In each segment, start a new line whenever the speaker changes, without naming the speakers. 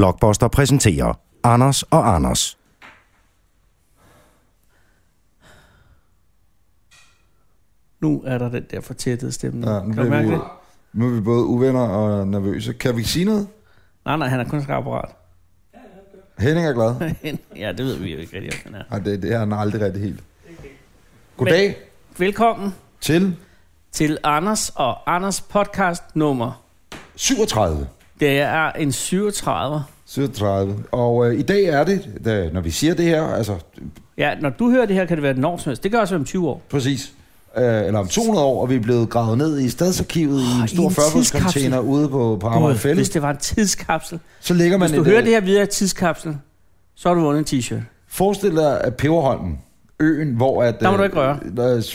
Blockbuster præsenterer Anders og Anders.
Nu er der den der fortættede stemme.
Ja, nu
kan du
bliver
mærke
vi-
det?
Nu er vi både uvenner og nervøse. Kan vi sige noget?
Nej, nej, han er kun apparat.
Henning er glad.
ja, det ved vi jo ikke rigtig, om han er.
Nej, det, det er han aldrig rigtig helt. Goddag
Velkommen
til
til Anders og Anders podcast nummer.
37.
Det er en 37.
37. Og øh, i dag er det, da, når vi siger det her, altså
Ja, når du hører det her, kan det være den år som helst. Det gør også om 20 år.
præcis, øh, eller om 200 år, og vi er blevet gravet ned i stadsarkivet i
i
en stor
en
40 container
tidskapsel.
ude på, på Amager
Gud, hvis
Fælles.
det var en tidskapsel.
Så ligger man
Hvis du
et,
hører
øh,
det her videre i tidskapselen, så har du vundet en t-shirt.
Forestil dig at Peberholmen, øen, hvor at... øh,
Der må du ikke røre.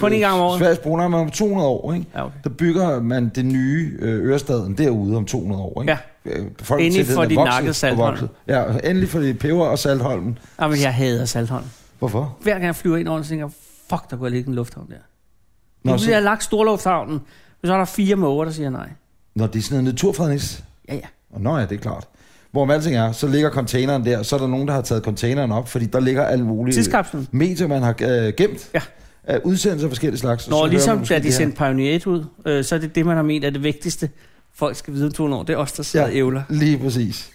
Kun én gang om året.
Sveriges Brunner om 200 år, ikke?
Ja, okay.
Der bygger man det nye øh, Ørestaden derude om 200 år, ikke?
Ja.
Øh,
Endelig
befolkningstætheden
for
er
de
vokset
nakkede
og
Saltholm.
vokset. Ja, endelig for de peber og Saltholmen.
Ah, men jeg hader Saltholm.
Hvorfor?
Hver gang jeg flyver ind over, så tænker jeg, fuck, der kunne ligge en lufthavn der.
Nå,
Nu
så-
bliver jeg lagt storlufthavnen, men så er der fire måger, der siger nej.
Når det er sådan noget naturfrednings...
Ja, ja.
Og nå ja, det er klart. Hvor med alting er, så ligger containeren der, så er der nogen, der har taget containeren op, fordi der ligger alle mulige
Tidskapslen.
medier, man har øh, gemt.
Ja.
Af udsendelser af forskellige slags.
Når
hører man
ligesom
måske
da
det
de
her.
sendte Pioneer 1 ud, øh, så er det det, man har ment er det vigtigste, folk skal vide om 200 år. Det er os, der sidder ja. og ævler.
Lige præcis.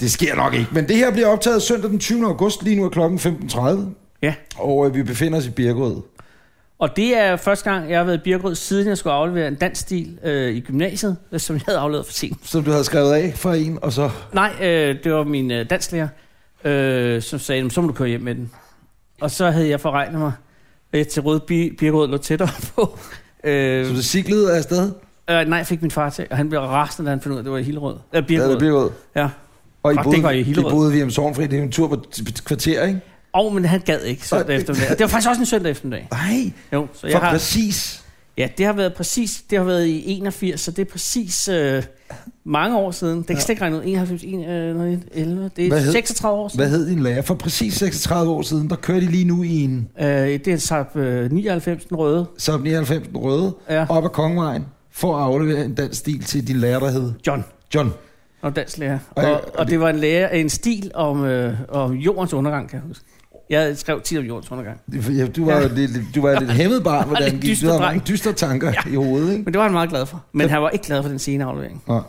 Det sker nok ikke. Men det her bliver optaget søndag den 20. august, lige nu er klokken 15.30.
Ja.
Og øh, vi befinder os i Birkerød.
Og det er første gang, jeg har været i Birkerød, siden jeg skulle aflevere en dansk stil øh, i gymnasiet, øh, som jeg havde afleveret for sent.
Som du havde skrevet af for en, og så...
Nej, øh, det var min øh, dansklærer, øh, som sagde, "Jamen, så må du køre hjem med den. Og så havde jeg forregnet mig øh, til Rød Bi- Birkerød lå tættere på. Øh,
Så du siglede afsted?
øh, nej, jeg fik min far til, og han blev rasende, da han fandt ud af, at det var i Hillerød. Øh,
Ja,
Birkerød.
Birkerød.
Ja.
Og I
Fuck, det
boede,
var i Hillerød.
I boede vi om Sovnfri. Det er jo en tur på t- et kvarter, ikke?
Og, men han gad ikke søndag
Nej.
eftermiddag. Det var faktisk også en søndag eftermiddag.
Nej,
Jo, så
for
jeg har,
præcis.
ja, det har været præcis, det har været i 81, så det er præcis øh, mange år siden. Det kan slet ikke regne ud, øh, 91, 91, 11, det
Hvad
er
hed-
36 år siden.
Hvad hed din lærer? For præcis 36 år siden, der kørte de lige nu i en
Øh, det er en Saab øh, 99, den røde.
Saab 99 den røde
Ja.
op ad Kongevejen for at aflevere en dansk stil til din lærer, der hed
John,
John.
og dansklærer.
Og-
Og,
og
og, og det var en lærer, en stil om, øh, om jordens undergang, kan jeg huske. Jeg skrev tit om jordens undergang.
Ja, du var, ja. lidt, du var lidt hæmmet barn,
var
hvordan
lidt
gik. Du
dyster
havde
dreng.
mange dystre tanker ja. i hovedet, ikke?
Men det var han meget glad for. Men han var ikke glad for den sene aflevering.
Ja.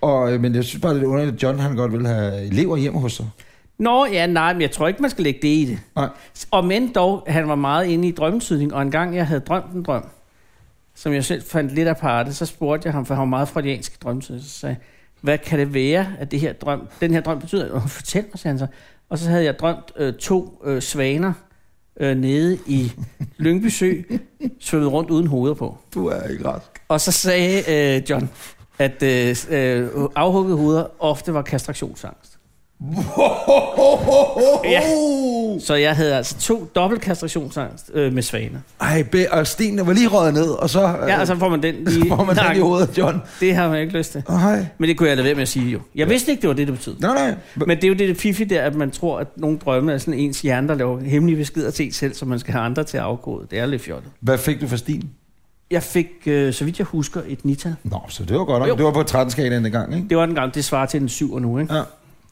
Og, øh, men jeg synes bare, det er lidt underligt, at John han godt vil have elever hjemme hos sig.
Nå, ja, nej, men jeg tror ikke, man skal lægge det i det.
Nej.
Og men dog, han var meget inde i drømmetydning, og en gang jeg havde drømt en drøm, som jeg selv fandt lidt aparte, så spurgte jeg ham, for han var meget freudiansk i drømmetydning, så sagde jeg, hvad kan det være, at det her drøm, den her drøm betyder? Og fortæl mig, sagde han så. Og så havde jeg drømt øh, to øh, svaner øh, nede i Lyngby Sø, svømmet rundt uden hoveder på.
Du er ikke rask.
Og så sagde øh, John, at øh, øh, afhuggede hoveder ofte var kastrationsangst. Ja. Så jeg havde altså to dobbelt kastrationsangst øh, med svaner.
Ej, be, og stenene var lige røget ned, og så, øh,
Ja, altså, og så får man den lige...
får man den i
nakken.
hovedet, John.
Det har man ikke lyst til.
Ej.
Men det kunne jeg lade være med at sige jo. Jeg vidste ikke, det var det, det betød.
Nej, nej.
Men det er jo det, det fifi der, at man tror, at nogle drømme er sådan ens hjerne, der laver hemmelige beskeder til en selv, så man skal have andre til at afgå. Det er lidt fjollet.
Hvad fik du for stil?
Jeg fik, øh, så vidt jeg husker, et nital.
Nå, så det var godt
Jo.
nok. Det var på 13-skalaen dengang, ikke?
Det var den gang, det svarer til den syver nu, ikke?
Ja.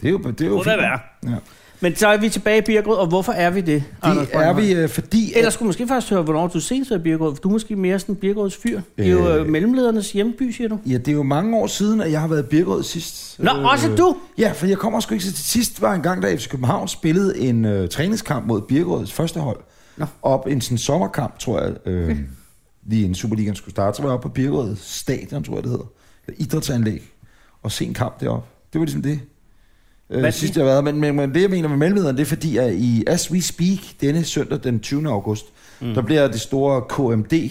Det er jo, det er jo
Må det være.
Ja.
Men så er vi tilbage i Birkerød, og hvorfor er vi det? Anders
Det er
Brøndholt?
vi, øh, fordi...
Ellers skulle du måske først høre, hvornår du senest var i Birkerød, for du er måske mere sådan Birkerøds fyr. Det er jo øh,
Øh.
mellemledernes hjemby, siger du.
Ja, det er jo mange år siden, at jeg har været i Birkerød sidst. øh,
Nå, også du?
Ja, for jeg kommer sgu ikke til sidst. var en gang, da FC København spillede en øh, træningskamp mod Birkerøds første hold.
Nå.
Op en sådan sommerkamp, tror jeg. Øh, lige inden Superligaen skulle starte, så var jeg oppe på Birkerød Stadion, tror jeg det hedder. Eller Idrætsanlæg. Og se en kamp deroppe. Det var ligesom det.
Hvad er
Øh, sidst
det?
jeg har været, men, men, men det jeg mener med mellemlederen, det er fordi, at i As We Speak, denne søndag den 20. august, mm. der bliver det store KMD,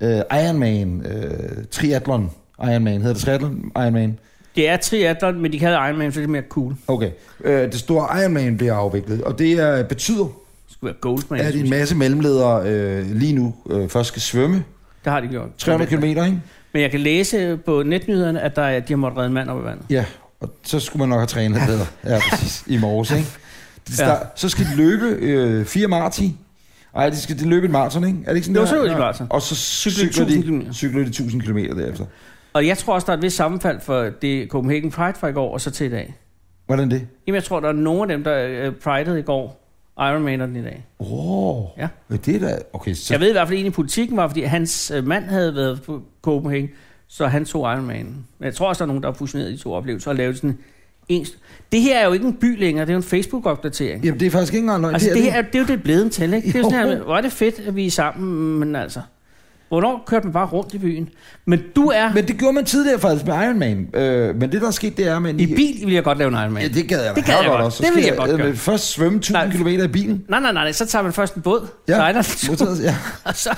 øh, Ironman, øh, triathlon, Ironman, hedder det triathlon, Ironman,
Det er triathlon, men de kalder Ironman, for det er mere cool. Det
Okay. Øh, det store Ironman bliver afviklet, og det er, betyder,
skulle være Goldman.
at
synes
en
jeg.
masse mellemledere øh, lige nu øh, først skal svømme
Det har de gjort.
300 km, ikke?
Men jeg kan læse på netnyhederne, at der, er- de har måttet redde en mand op i vandet.
Ja, og så skulle man nok have trænet lidt bedre. Ja, præcis. I morges, ikke? Det
Ja.
start, Så skal de løbe øh, fire marti. Ej, de skal de løbe en maraton, ikke? Er det ikke sådan
Jo,
der?
så løber de
Nej.
maraton.
Og så
Cykler de
cykler,
1000 kilometer.
de, cykler de 1000 km derefter.
Og jeg tror også, der er et vist sammenfald for det Copenhagen Pride fra i går og så til i dag.
Hvordan det?
Jamen, jeg tror, der er nogen af dem, der øh, pridede i går. Iron Man den i dag.
Åh, oh,
Ja.
det er da... Okay, så...
Jeg ved i hvert fald, at en i politikken var, fordi hans øh, mand havde været på Copenhagen, så han tog Iron Man. Men jeg tror også, der er nogen, der har fusioneret de to oplevelser og lavet sådan en... Det her er jo ikke en by længere, det er jo en Facebook-opdatering.
Jamen, det er faktisk ikke engang løgn.
altså, det,
det
her, er- det er jo det blevet til, ikke? Det er jo sådan
Jo.
her, men hvor er det fedt, at vi er sammen, men altså... Hvornår kørte man bare rundt i byen? Men du er... Men,
Men det gjorde man tidligere faktisk med Iron Man. Øh, men det, der er sket, det er... Man
I bil ville jeg godt lave en Iron Man.
Ja, det gad jeg da
Det gad jeg
herregodt
godt.
også. Så
Det vil
skal
jeg godt gøre.
øh, Først svømme 1000
Nej.
km i bilen.
Nej, nej, nej, nej, så tager man først en båd,
Ja.
ja. sejler den,
Modtaget, ja.
og, så,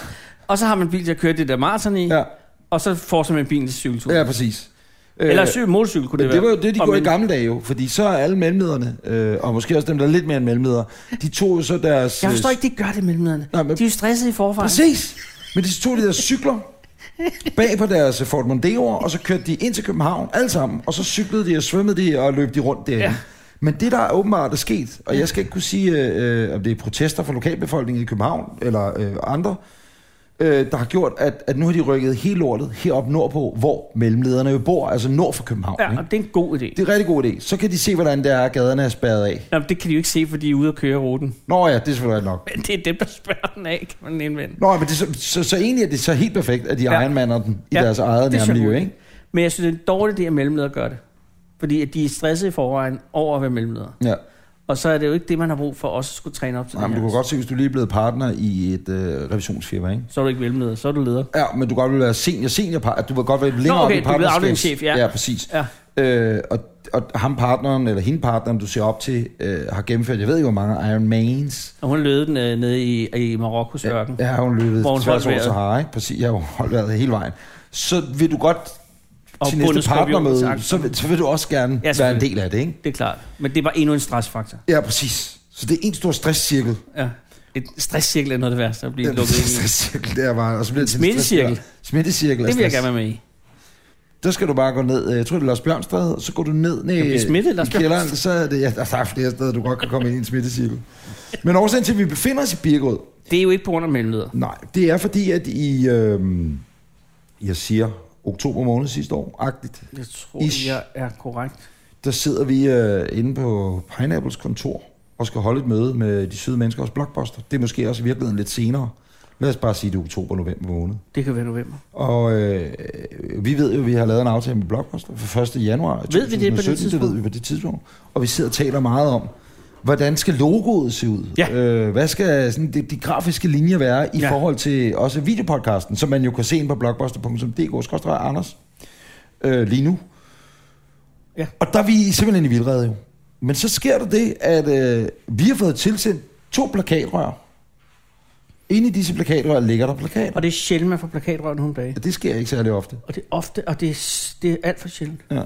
og så har man en bil til at køre det der maraton i, ja.
Ja,
og så får så man bilen til cykeltur.
ja
Ja.
præcis.
Eller
Øh,
syg motorcykel kunne
Men
det
det var
være.
jo det, de
Og
gjorde i
men-
gamle dage jo, fordi så er alle mellemlederne, øh, og måske også dem, der er lidt mere end mellemledere, de tog jo så deres...
Jeg forstår
øh,
ikke, de gør det mellemlederne.
Nej, men-
De er jo stressede i forvejen.
Præcis! Men de tog de deres cykler bag på deres øh, Ford Mondeo'er, og så kørte de ind til København, alle sammen, og så cyklede de og svømmede de og løb de rundt derinde. Ja.
Ja.
Men det, der er åbenbart er sket, og jeg skal ikke kunne sige, øh, øh, om det er protester fra lokalbefolkningen i København eller øh, andre, øh, der har gjort, at, at nu har de rykket hele lortet herop nordpå, hvor mellemlederne jo bor, altså nord for København.
Ja,
ikke?
og det er en god idé.
Det er en rigtig god idé. Så kan de se, hvordan det er, at gaderne er spærret af.
Nå, men det kan de jo ikke se, fordi de er ude at køre ruten.
Nå ja, det er selvfølgelig nok.
Men det er dem, der spørger den af, kan man indvende.
Nå, men det, er så, så, så, egentlig er det så helt perfekt, at de ja.
Ja.
ejenmander den i ja.
Ja,
deres eget
det er så
nærmiljø,
godt.
ikke?
Men jeg synes, det er en dårlig idé, at mellemledere gør det. Fordi at de er stressede i forvejen over at være mellemledere.
Ja.
Og så er det jo ikke det, man har brug for også at skulle træne op til
Nej,
det
men
altså-
du
her.
kunne godt se, hvis du lige er blevet partner i et øh, revisionsfirma, ikke?
Så er du ikke mellemleder, så er du leder.
Ja, men du godt vil være senior, senior partner. Du vil godt være længere
okay,
oppe
du
i
er blevet
partnerskabs-
afdelingschef, ja.
Ja, præcis.
Ja.
Øh, og, og ham partneren, eller hende partneren, du ser op til, øh, har gennemført, jeg ved ikke, hvor mange Iron Mains.
Og hun lød den øh, nede i, i Marokkos ørken.
Ja, hun løbet
Hvor hun
tværs
holdt
over
vejret.
Sahara, ikke? Præcis, jeg har holdt vejret hele vejen. Så vil du godt
Og
til
bundet
næste
skorpion til
partnermøde,
anklen.
så vil, så vil du også gerne
Ja,
ja, være en del af det, ikke?
Det er klart. Men det er bare endnu en stressfaktor.
Ja, præcis. Så det er en stor stresscirkel.
Ja. Et stresscirkel er noget af det værste at blive
Den
lukket ind i.
stresscirkel, der var, og så bliver det til en
Smittecirkel.
stresscirkel. Smittecirkel. af
Det vil jeg
stress.
gerne være med i.
Der skal du bare gå ned, øh, jeg tror det er Lars Bjørnstræde, og så går du ned ned
bliver smittet,
i
Lars
kælderen, så er det, ja, der er flere steder, du godt kan komme ind i en smittecirkel. Men årsagen til, at vi befinder os i Birkerød,
Det er jo ikke på grund af mellemleder.
nej, det er fordi, at i, øh, jeg siger, oktober måned sidste år, agtigt,
Jeg tror,
Ish.
Ish. jeg er korrekt.
der sidder vi øh, inde på Pineapples kontor og skal holde et møde med de søde mennesker hos Blockbuster. Det er måske også i virkeligheden lidt senere. Lad os bare sige, det er oktober-november måned.
Det kan være november.
Og øh, vi ved jo, at vi har lavet en aftale med Blockbuster for 1. januar
Ved vi det på det
2017. Det ved
tidspunkt?
vi på det tidspunkt. Og vi sidder og taler meget om, hvordan skal logoet se ud?
Ja.
Øh, hvad skal sådan, de, de grafiske linjer være i ja.
Ja.
forhold til også videopodcasten, som man jo kan se ind på blockbuster.dk-anders øh, lige nu.
Ja.
Og der er vi simpelthen i vildrede jo. Men så sker der det, at øh, vi har fået tilsendt to plakatrør. Inde i disse plakatrør ligger der plakater.
Og det er sjældent, man får plakatrøven nogle dage.
Ja, det sker ikke særlig ofte.
Og det er ofte, og det er, s- det er alt for sjældent.
Ja.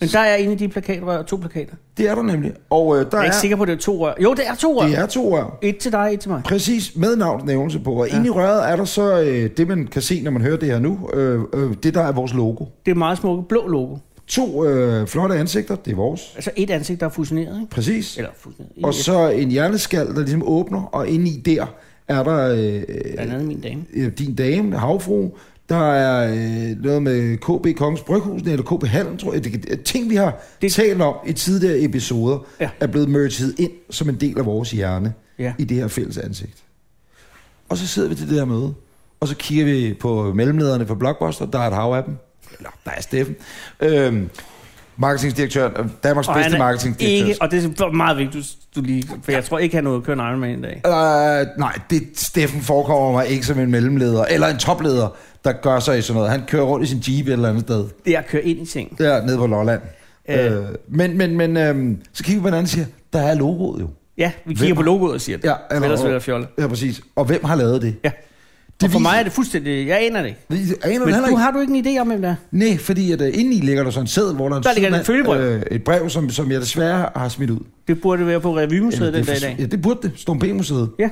Men der er en af de plakatrør, to plakater.
Det er der nemlig. Og øh, der
Jeg er
er,
ikke sikker på, at det er to rør. Jo, det er to rør.
det er to rør.
Et til dig, et til mig.
Præcis, med navnsnævnelse på. Og ja. inde i røret er der så øh, det, man kan se, når man hører det her nu. Øh, øh, det, der er vores logo.
Det er meget smukke blå logo.
To øh, flotte ansigter, det er vores.
Altså et ansigt, der er fusioneret, ikke?
Præcis.
Eller fusioneret.
Og så en hjerneskal, der ligesom åbner, og inde i der er der øh,
Blandt andet min dame.
øh, din dame, havfru. Der er øh, noget med KB Kongens Bryghusen, eller KB Hallen, tror jeg. Det, det, ting, vi har det...
Det-
talt om i tidligere episoder, ja.
Ja.
er blevet merged ind som en del af vores hjerne.
Ja.
i det her fælles ansigt. Og så sidder vi til det her møde, og så kigger vi på mellemlederne for Blockbuster, der er et hav af dem. Eller, der er Steffen. Øhm, marketingdirektøren, Danmarks
Og
og
han
bedste
er
marketingdirektør.
ikke, og det er meget vigtigt, du, du lige, for jeg tror ikke, han nåede at køre en Ironman i dag.
Uh, nej, det Steffen forekommer mig ikke som en mellemleder, eller en topleder, der gør sig i sådan noget. Han kører rundt i sin jeep et eller andet sted,
Det er at køre ind i ting.
der nede på Lolland.
Øh.
Øh. men men, men øhm, så kigger vi på hinanden og siger, der er logoet jo.
Ja, vi
Hvem
kigger på
har-
logoet og siger det.
Ja,
eller, Ellers vil jeg
eller,
fjolle.
ja, præcis. Og hvem har lavet det?
Ja.
Det
og for
viser-
mig er det fuldstændig... Jeg aner det ikke.
Vi aner det
Men
heller
du
ikke.
har du ikke en idé om, hvem det er?
Nej, fordi at, uh, indeni ligger der sådan en sæd, hvor der er en
Der ligger
sydmand,
et følgebrev.
Øh, et brev, som, som jeg desværre har smidt ud.
Det burde være på revymuseet den
det,
dag i
er for-
dag.
Ja, det burde det. Storm B-museet.
Ja,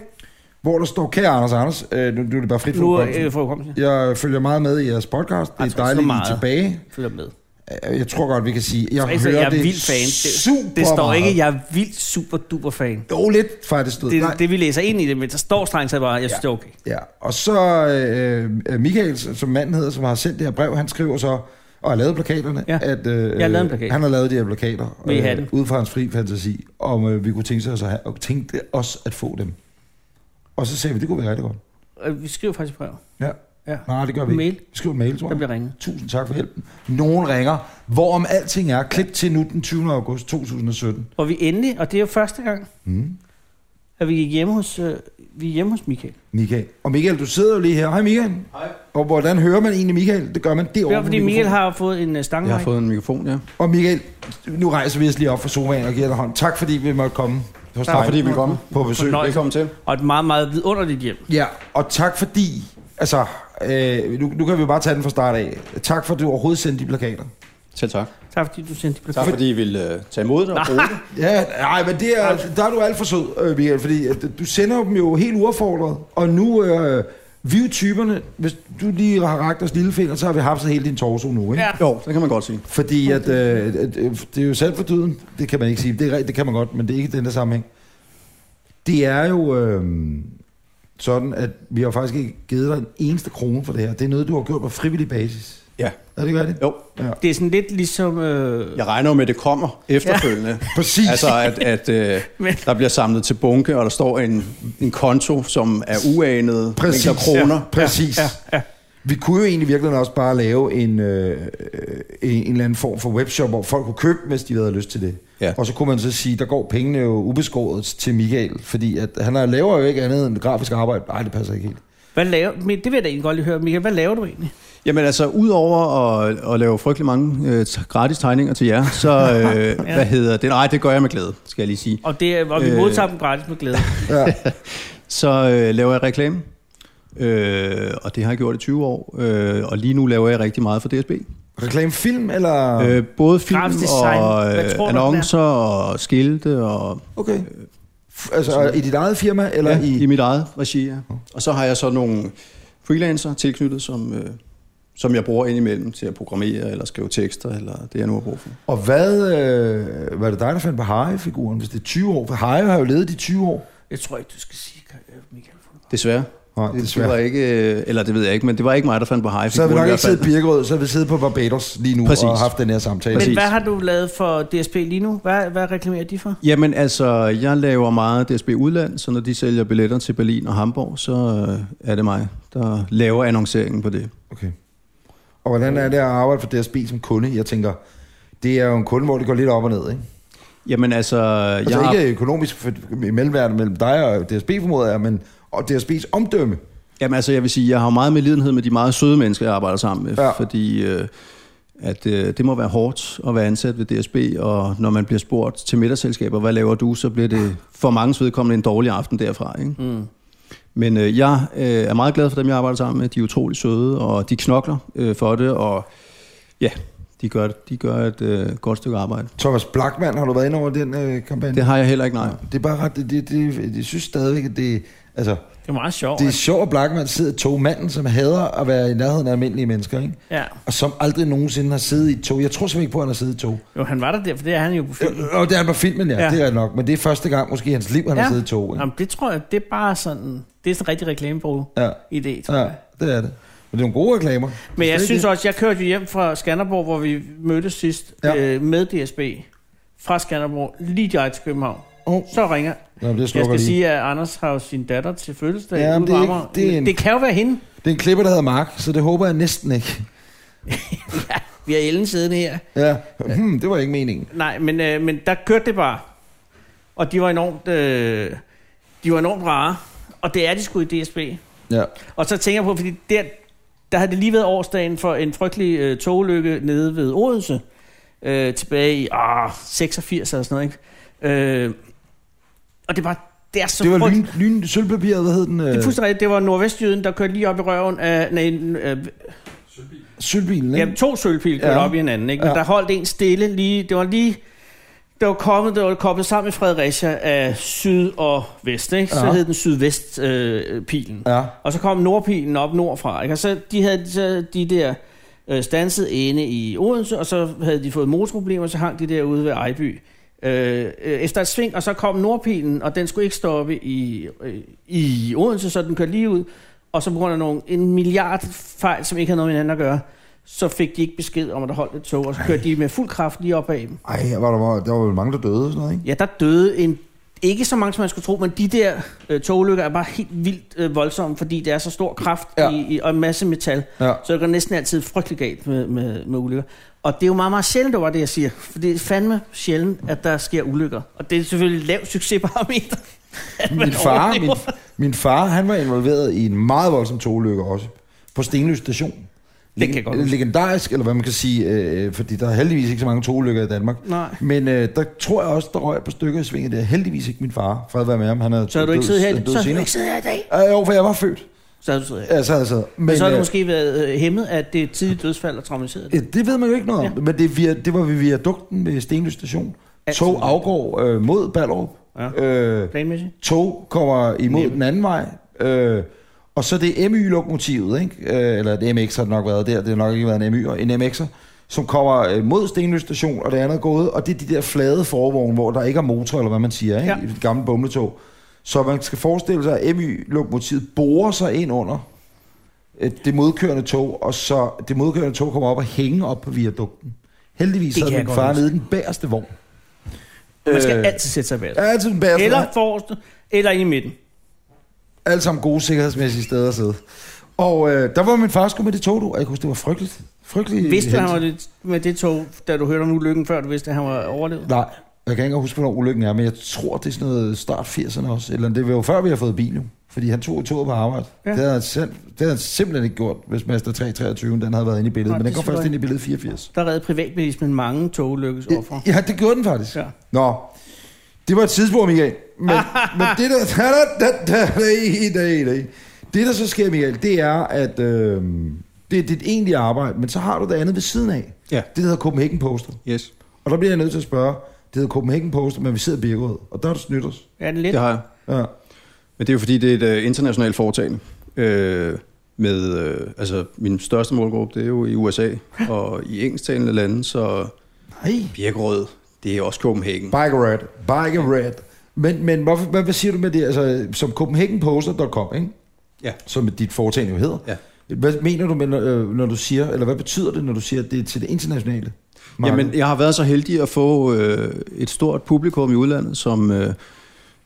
Hvor der står, kære Anders Anders, øh, nu, nu er det bare frit
nu
for
er øh,
øh,
forekomsten.
Jeg følger meget med i jeres podcast. Det
Ej, tak
er
så
dejligt, at I er
meget.
tilbage.
Følger med.
Øh, Jeg tror godt, vi kan sige, jeg
Altså,
hører
jeg er
det
vild fan. Det,
super
det står
meget.
ikke, jeg er vild super duper fan.
Jo, lidt faktisk. du ved. Nej.
Det, det, vi læser ind i det, men der står strengt taget bare, jeg synes,
Ja.
det er okay.
Ja, og så øh, øh, Michael, som manden hedder, som har sendt det her brev, han skriver så, og har lavet plakaterne,
Ja.
at øh,
Jeg har lavet en plakat.
han har lavet de her plakater øh,
Vil I have dem?
ud fra hans fri fantasi, om øh, vi kunne tænke os at have, og tænkte os at få dem. Og så sagde vi, det kunne være rigtig godt.
Øh, Vi skriver faktisk brev.
Ja.
Ja.
Nej, det gør vi
Mail.
ikke. Vi skriver en mail, tror
Der
jeg.
bliver ringet.
Tusind tak for hjælpen. Nogen ringer, hvorom alting er. Klip til nu den 20. august 2017.
Og vi endelig, og det er jo første gang,
Mm.
at vi gik hjemme hos, øh, vi er hjemme hos Michael.
Michael. Og Michael, du sidder jo lige her. Hej Michael. Hej. Og hvordan hører man egentlig Michael? Det gør man
Det
derovre.
er
på
fordi Michael
mikrofonen.
har fået en øh,
Jeg har
stangvej.
fået en mikrofon, ja.
Og Michael, nu rejser vi os lige op fra sofaen og giver dig hånd. Tak fordi vi måtte komme. Hos
Tak fordi I ville komme.
På besøg.
Fornøjelse.
Velkommen til.
Og et meget, meget vidunderligt hjem.
Ja, og tak fordi... Altså, øh, nu, nu kan vi jo bare tage den fra start af. Tak for, at du overhovedet sendte de plakater.
Selv tak.
Tak fordi du sendte det.
Tak fordi I ville øh, tage imod det og bruge det.
Ja, nej, men det er, der er du alt for sød, øh, Michael, fordi at du sender dem jo helt uaffordret, og nu øh, vi er jo typerne, hvis du lige har ragt os lillefinger, så har vi haft hele din torso nu, ikke?
Ja.
Jo, det kan man godt sige.
Fordi at, øh, at, øh, det er jo selv for døden, det kan man ikke sige, det, er, rigtigt, det kan man godt, men det er ikke i den der sammenhæng. Det er jo øh, sådan, at vi har faktisk ikke givet dig en eneste krone for det her. Det er noget, du har gjort på frivillig basis.
Ja.
Er det ikke rigtigt?
Jo,
Det er sådan lidt ligesom... Øh,
jeg regner jo med, at det kommer efterfølgende.
Præcis.
Altså, at, at øh,
Men-
der bliver samlet til bunke, og der står en, en konto, som er uanet
Præcis.
mængder kroner.
Ja, præcis. Ja, ja, ja. Vi kunne jo egentlig virkelig også bare lave en, øh, en, en eller anden form for webshop, hvor folk kunne købe, hvis de havde lyst til det.
Ja.
Og så kunne man så sige, der går pengene jo ubeskåret til Michael, fordi at han har- laver jo ikke andet end grafisk arbejde. Nej, det passer ikke helt.
hvad laver, men det vil jeg da egentlig godt lige høre, Michael. Hvad laver du egentlig?
Jamen altså, udover at, at lave frygtelig mange øh, t- gratis tegninger til jer, så øh, ja. hvad hedder det? Nej, det gør jeg med glæde, skal jeg lige sige.
Og, det, er- og vi
Øh.
modtager dem gratis med glæde.
Ja.
Så øh, laver jeg reklame, øh, og det har jeg gjort i 20 år, øh, og lige nu laver jeg rigtig meget for DSB.
Reklamefilm, eller...
Øh, både film
Grafisk design.
og
Hvad tror
øh,
du,
annoncer og skilte og
Okay. F- Altså i dit eget firma, eller
ja,
ja, i... Ah.
i mit eget regi. Ja. Og så har jeg så nogle freelancer tilknyttet, som, øh, som jeg bruger indimellem til at programmere eller skrive tekster, eller det jeg nu har brug for.
Og hvad øh, var det dig, der fandt på Harry-figuren, hvis det er 20 år? For Harry har jo levet de 20 år.
Jeg tror ikke, du skal sige, øh, Michael.
Desværre.
Nej,
Det, det var ikke, øh, eller det ved jeg ikke, men det var ikke mig, der fandt på Hive.
Så har vi nok ikke siddet i Birkerød, så har vi siddet på Barbados lige nu
Præcis.
og haft den her samtale.
Men
Præcis.
hvad har du lavet for DSP lige nu? Hvad, hvad reklamerer de for?
Jamen altså, jeg laver meget DSB Udland, så når de sælger billetter til Berlin og Hamburg, så øh, er det mig, der laver annonceringen på det.
Okay. Og hvordan er det at arbejde for DSB som kunde? Jeg tænker, det er jo en kunde, hvor det går lidt op og ned, ikke?
Jamen altså,
Altså
jeg har-
ikke økonomisk for- i mellemværende mellem dig og DSB, formoder jeg, men og DSB's omdømme.
Jamen altså, jeg vil sige, jeg har jo meget medlidenhed med de meget søde mennesker, jeg arbejder sammen med,
Ja.
ja. fordi øh, at, øh, det må være hårdt at være ansat ved DSB, og når man bliver spurgt til middagsselskaber, hvad laver du, så bliver det for mange vedkommende en dårlig aften derfra. Ikke? Mm. Men øh, jeg øh, er meget glad for dem, jeg arbejder sammen med. De er utrolig søde, og de knokler øh, for det, og ja, de gør, de gør et øh, godt stykke arbejde.
Thomas Blackman, har du været inde over den øh, kampagne?
Det har jeg heller ikke, nej.
Det er bare ret, det, det, det, jeg synes stadigvæk, at det, altså,
Det er meget sjovt.
det er sjovt, at Blackman sidder i togmanden, som hader at være i nærheden af almindelige mennesker, ikke?
Ja.
Og som aldrig nogensinde har siddet i et tog. Jeg tror simpelthen ikke på, at han har siddet i et tog.
Jo, han var der der, for det er han jo på film.
Øh, Og det er han på filmen, ja.
Ja.
ja. Det er nok. Men det er første gang måske i hans liv, han ja. har siddet i tog. Ikke?
Jamen, det tror jeg, det er bare sådan... Det er sådan en rigtig reklamebrug
Ja.
idé, tror
ja,
jeg.
det er det. Men det er nogle gode reklamer.
Men jeg
Det er
synes
det.
også, jeg kørte jo hjem fra Skanderborg, hvor vi mødtes sidst
Ja.
ja. øh, med DSB. Fra Skanderborg, lige direkte til København.
Oh.
Så ringer.
Nå, men det
Jeg
slukker
skal
lige. Sige...
sige, at Anders har jo sin datter til fødselsdag.
Ja, men
ude
det er
på
ikke-
Amager.
det er en-
det kan jo være hende.
Det er en klipper, der hedder Mark, så det håber jeg næsten ikke.
Vi har Ellen siddende her.
Ja, hmm, det var ikke meningen.
Nej, men, øh, men der kørte det bare. Og de var enormt, øh, de var enormt rare. Og det er de sgu i DSB.
Ja.
Og så tænker jeg på, fordi der, der havde det lige været årsdagen for en frygtelig øh, togulykke nede ved Odense. Øh, tilbage i ah, 86 eller sådan noget, ikke? Øh, og det var, det er så
Det var
frygt-
lyn, lyn sølvpapiret, hvad hed den?
Det er
Øh,
fuldstændig rigtigt. Det var nordvestjyden, der kørte lige op i røven af... Nej, øh,
sølvbilen, ikke?
ja, to sølvpil kørte
Ja.
ja. op i hinanden, ikke? Men
Ja.
der holdt en stille lige... Det var lige... Det var kommet, det var koblet sammen i Fredericia af syd og vest, ikke? Så
Ja.
hed den sydvestpilen. Øh, pilen.
Ja.
Og så kom nordpilen op nordfra, ikke? Og så de havde så de der øh, stanset inde i Odense, og så havde de fået motorproblemer, så hang de derude ved Ejby. Øh, øh, efter et sving, og så kom nordpilen, og den skulle ikke stoppe i, øh, i Odense, så den kørte lige ud. Og så på grund af nogle, en milliard fejl, som ikke havde noget med hinanden at gøre, så fik de ikke besked om, at der holdt et tog, og så kørte de med fuld kraft lige op ad dem.
Ej, var der, var, der var vel mange, der døde og sådan noget, ikke?
Ja, der døde en, ikke så mange, som man skulle tro, men de der øh, togulykker er bare helt vildt øh, voldsomme, fordi det er så stor kraft
Ja.
ja. i, i, og en masse metal.
Ja.
Så det går næsten altid frygtelig galt med, med, med ulykker. Og det er jo meget, meget sjældent, det var det, jeg siger. For det er fandme sjældent, at der sker ulykker. Og det er selvfølgelig et lavt succesparameter. at man
Min far, min,
overlever.
min far, han var involveret i en meget voldsom togulykke også. På Stenløs Station.
Det kan jeg godt huske.
Legendarisk, eller hvad man kan sige, øh, fordi der er heldigvis ikke så mange togulykker i Danmark.
Nej.
Men øh, der tror jeg også, der røg et par stykker i svinget der. Heldigvis ikke min far. Fred være med ham. Han er
Så har du ikke siddet her, i- så har du
senere.
ikke siddet her i dag.
Øh, jo, for jeg var født.
Så har du siddet her.
Altså, altså. Men,
Men så har du
øh,
måske været øh, hæmmet af det tidlige dødsfald og traumatiseret.
Ja, det ved man jo ikke noget om, ja. men det, via, det var vi via dugten ved Stenløs Station.
Altid.
Tog afgår øh, mod Ballerup.
Ja.
Øh,
Planmæssigt.
tog kommer imod den anden vej. Øh, og så det er MY-lokomotivet, ikke? Øh, eller et MX har det nok været der, det har nok ikke været en MY, og en MX'er, som kommer øh, mod Stenløs Station, og det andet er gået, og det er de der flade forvogne, hvor der ikke er motor, eller hvad man siger, ikke?
Ja.
Ja. i det gamle bumletog. Så man skal forestille sig, at MY-lokomotivet borer sig ind under øh, det modkørende tog, og så det modkørende tog kommer op og hænger op på viadukten. Heldigvis
Det
havde
kan
min
jeg
far
godt
nede i den bagerste vogn.
Man skal
Øh,
altid sætte sig bag.
Altid den bagerste
Eller forrest, eller ind i midten.
Alle sammen gode sikkerhedsmæssige steder at sidde. Og øh, der var min far sgu med det tog, du. Og jeg kunne huske, det var frygteligt. Frygteligt.
Vidste du, han var
hændt.
lidt med det tog, da du hørte om ulykken før, du vidste, at han var overlevet?
Nej, jeg kan ikke engang huske, hvornår ulykken er, men jeg tror, det er sådan noget start 80'erne også. Eller det var jo før, vi har fået bil, jo. Fordi han tog toget på arbejde.
Ja.
Ja. Det, havde han selv, det havde han simpelthen ikke gjort, hvis Master 323 den havde været inde i billedet.
Nej,
Nej, men den
det
kom
tror
først
jeg
ind i billedet 84.
Der redde privatbilismen mange togulykkes offer.
Ja, det gjorde den faktisk.
Ja.
Nå, det var et tidsspur, Michael. Men, men det, der, da, da, da, da, da, da, da. det, der så sker, Michael, det er, at øh, det er dit egentlige arbejde, men så har du det andet ved siden af.
Ja.
Det hedder Copenhagen Poster.
Yes,
Og der bliver jeg nødt til at spørge, det hedder Copenhagen Poster, men vi sidder i Birkerød, og der er du snydt os.
Er den lidt?
det har jeg.
Ja.
Men det er jo fordi, det er et øh, internationalt foretagende. Øh, med, øh, altså, min største målgruppe, det er jo i USA og i engelsktalende lande, så
Nej.
Birkerød, det er også Copenhagen.
Bike Red. Bike Red. Men, men hvorfor, hvad, hvad siger du med det? Altså, som CopenhagenPoster.com, ikke?
Ja.
Som dit foretagende jo hedder.
Ja.
Hvad mener du, med, når, øh, når du siger, eller hvad betyder det, når du siger, at det er til det internationale? marked?
Jamen, jeg har været så heldig at få øh, et stort publikum i udlandet, som øh,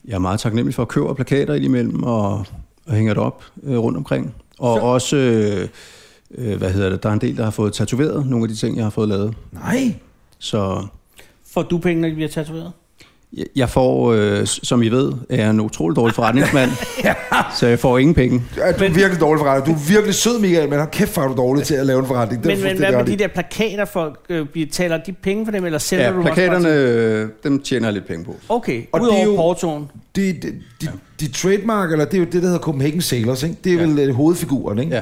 jeg er meget taknemmelig for at købe plakater indimellem og, og hænger det op øh, rundt omkring. Og så. også, øh, øh, hvad hedder det, der er en del, der har fået tatoveret nogle af de ting, jeg har fået lavet.
Nej.
Så
Får du penge, når de bliver tatoveret?
jeg- jeg får, øh, s- som I ved, er jeg en utrolig dårlig forretningsmand, så jeg får ingen penge.
Ja, du er
Men-
virkelig dårlig forretning. Du er virkelig sød, Michael, men hold kæft, hvor er du dårlig til at lave en forretning. Det er
Men,
du
men hvad
fuldstændig
med
ret i.
de der plakater, folk øh, bliver- taler de penge for dem, eller sælger
Ja,
du dem også
plakaterne,
bare til-
øh, dem tjener jeg lidt penge på.
Okay, og
Og det er
udover
jo-
jo... portoen.
Det, det, de, de trademark, eller det er jo det, der hedder Copenhagen Sailors, ikke? Det er ja. vel øh, hovedfiguren, ikke?
Ja.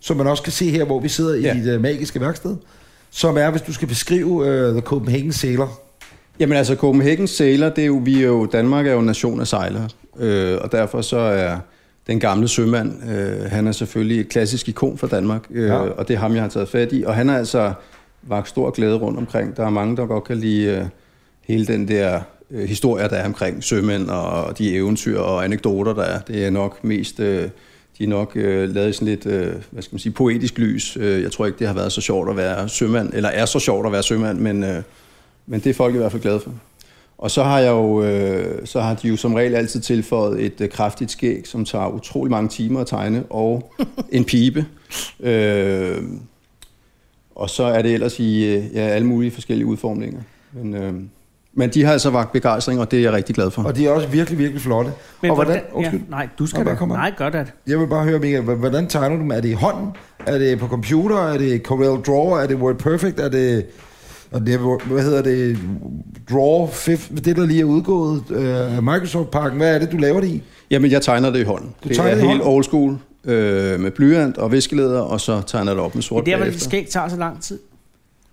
Som man også kan se her, hvor vi sidder ja.
Ja.
i det øh, magiske værksted. Som er, hvis du skal beskrive uh, The Copenhagen Sailor.
Jamen altså, Copenhagen Sailor, det er jo, vi er jo, Danmark er jo en nation af sejlere, øh, og derfor så er den gamle sømand, øh, han er selvfølgelig et klassisk ikon for Danmark, øh,
Ja.
ja. og det er ham, jeg har taget fat i, og han har altså vagt stor glæde rundt omkring. Der er mange, der godt kan lide øh, hele den der øh, historie, der er omkring sømænd, og de eventyr og anekdoter, der er. Det er nok mest... Øh, de er nok øh, lavet i sådan lidt, øh, hvad skal man sige, poetisk lys. Øh, jeg tror ikke, det har været så sjovt at være sømand, eller er så sjovt at være sømand, men øh, men det er folk i hvert fald glade for. Og så har, jeg jo, øh, så har de jo som regel altid tilføjet et øh, kraftigt skæg, som tager utrolig mange timer at tegne, og en pibe. Øh, og så er det ellers i øh, ja, alle mulige forskellige udformninger. Men, øh, men de har altså vagt begejstring, og det er jeg rigtig glad for.
Og de er også virkelig, virkelig flotte.
Mm. Men
og hvordan,
ja,
undskyld,
nej, du skal
Og hvad
da.
kommer-
Nej, gør det.
jeg vil bare høre, Michael, h- hvordan tegner du dem? Er det i hånden? Er det på computer? Er det Corel Draw? Er det Word Perfect? Er det, og det er- hvad hedder det, Draw 5, det der lige er udgået øh, af Microsoft-pakken, hvad er det, du laver det i?
Jamen, jeg tegner det i hånden.
Du
det
tegner
er
det i
helt
hånden?
old school øh, med blyant og viskeleder, og så tegner jeg det op med
Det er
sort
der, hvor det
bagefter.
skæg tager så lang tid.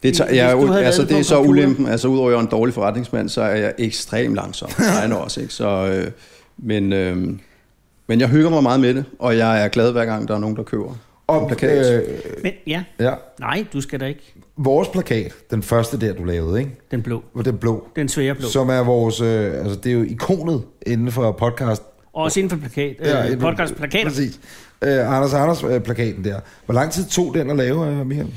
Det tager,
Hvis
jeg, er
du
jo-
havde lavet
altså,
det
det
på
er
en
så
computer.
ulempen. Altså, udover at jeg er en dårlig forretningsmand, så er jeg ekstremt langsom. Jeg er også, ikke? Så, øh, men, øh, men jeg hygger mig meget med det, og jeg er glad hver gang, der er nogen, der køber.
Og, øh,
En
øh,
plakat.
Men ja,
ja,
nej, du skal da ikke.
vores plakat, den første der, du lavede, ikke?
Den blå.
Hvor Den blå,
Den svære blå.
som er vores, øh, altså det er jo ikonet inden for podcast.
Også inden for plakat, øh,
inden for-
podcastplakater.
Præcis. Øh, Anders Anders øh, plakaten der. Hvor lang tid tog den at lave, øh, Michael?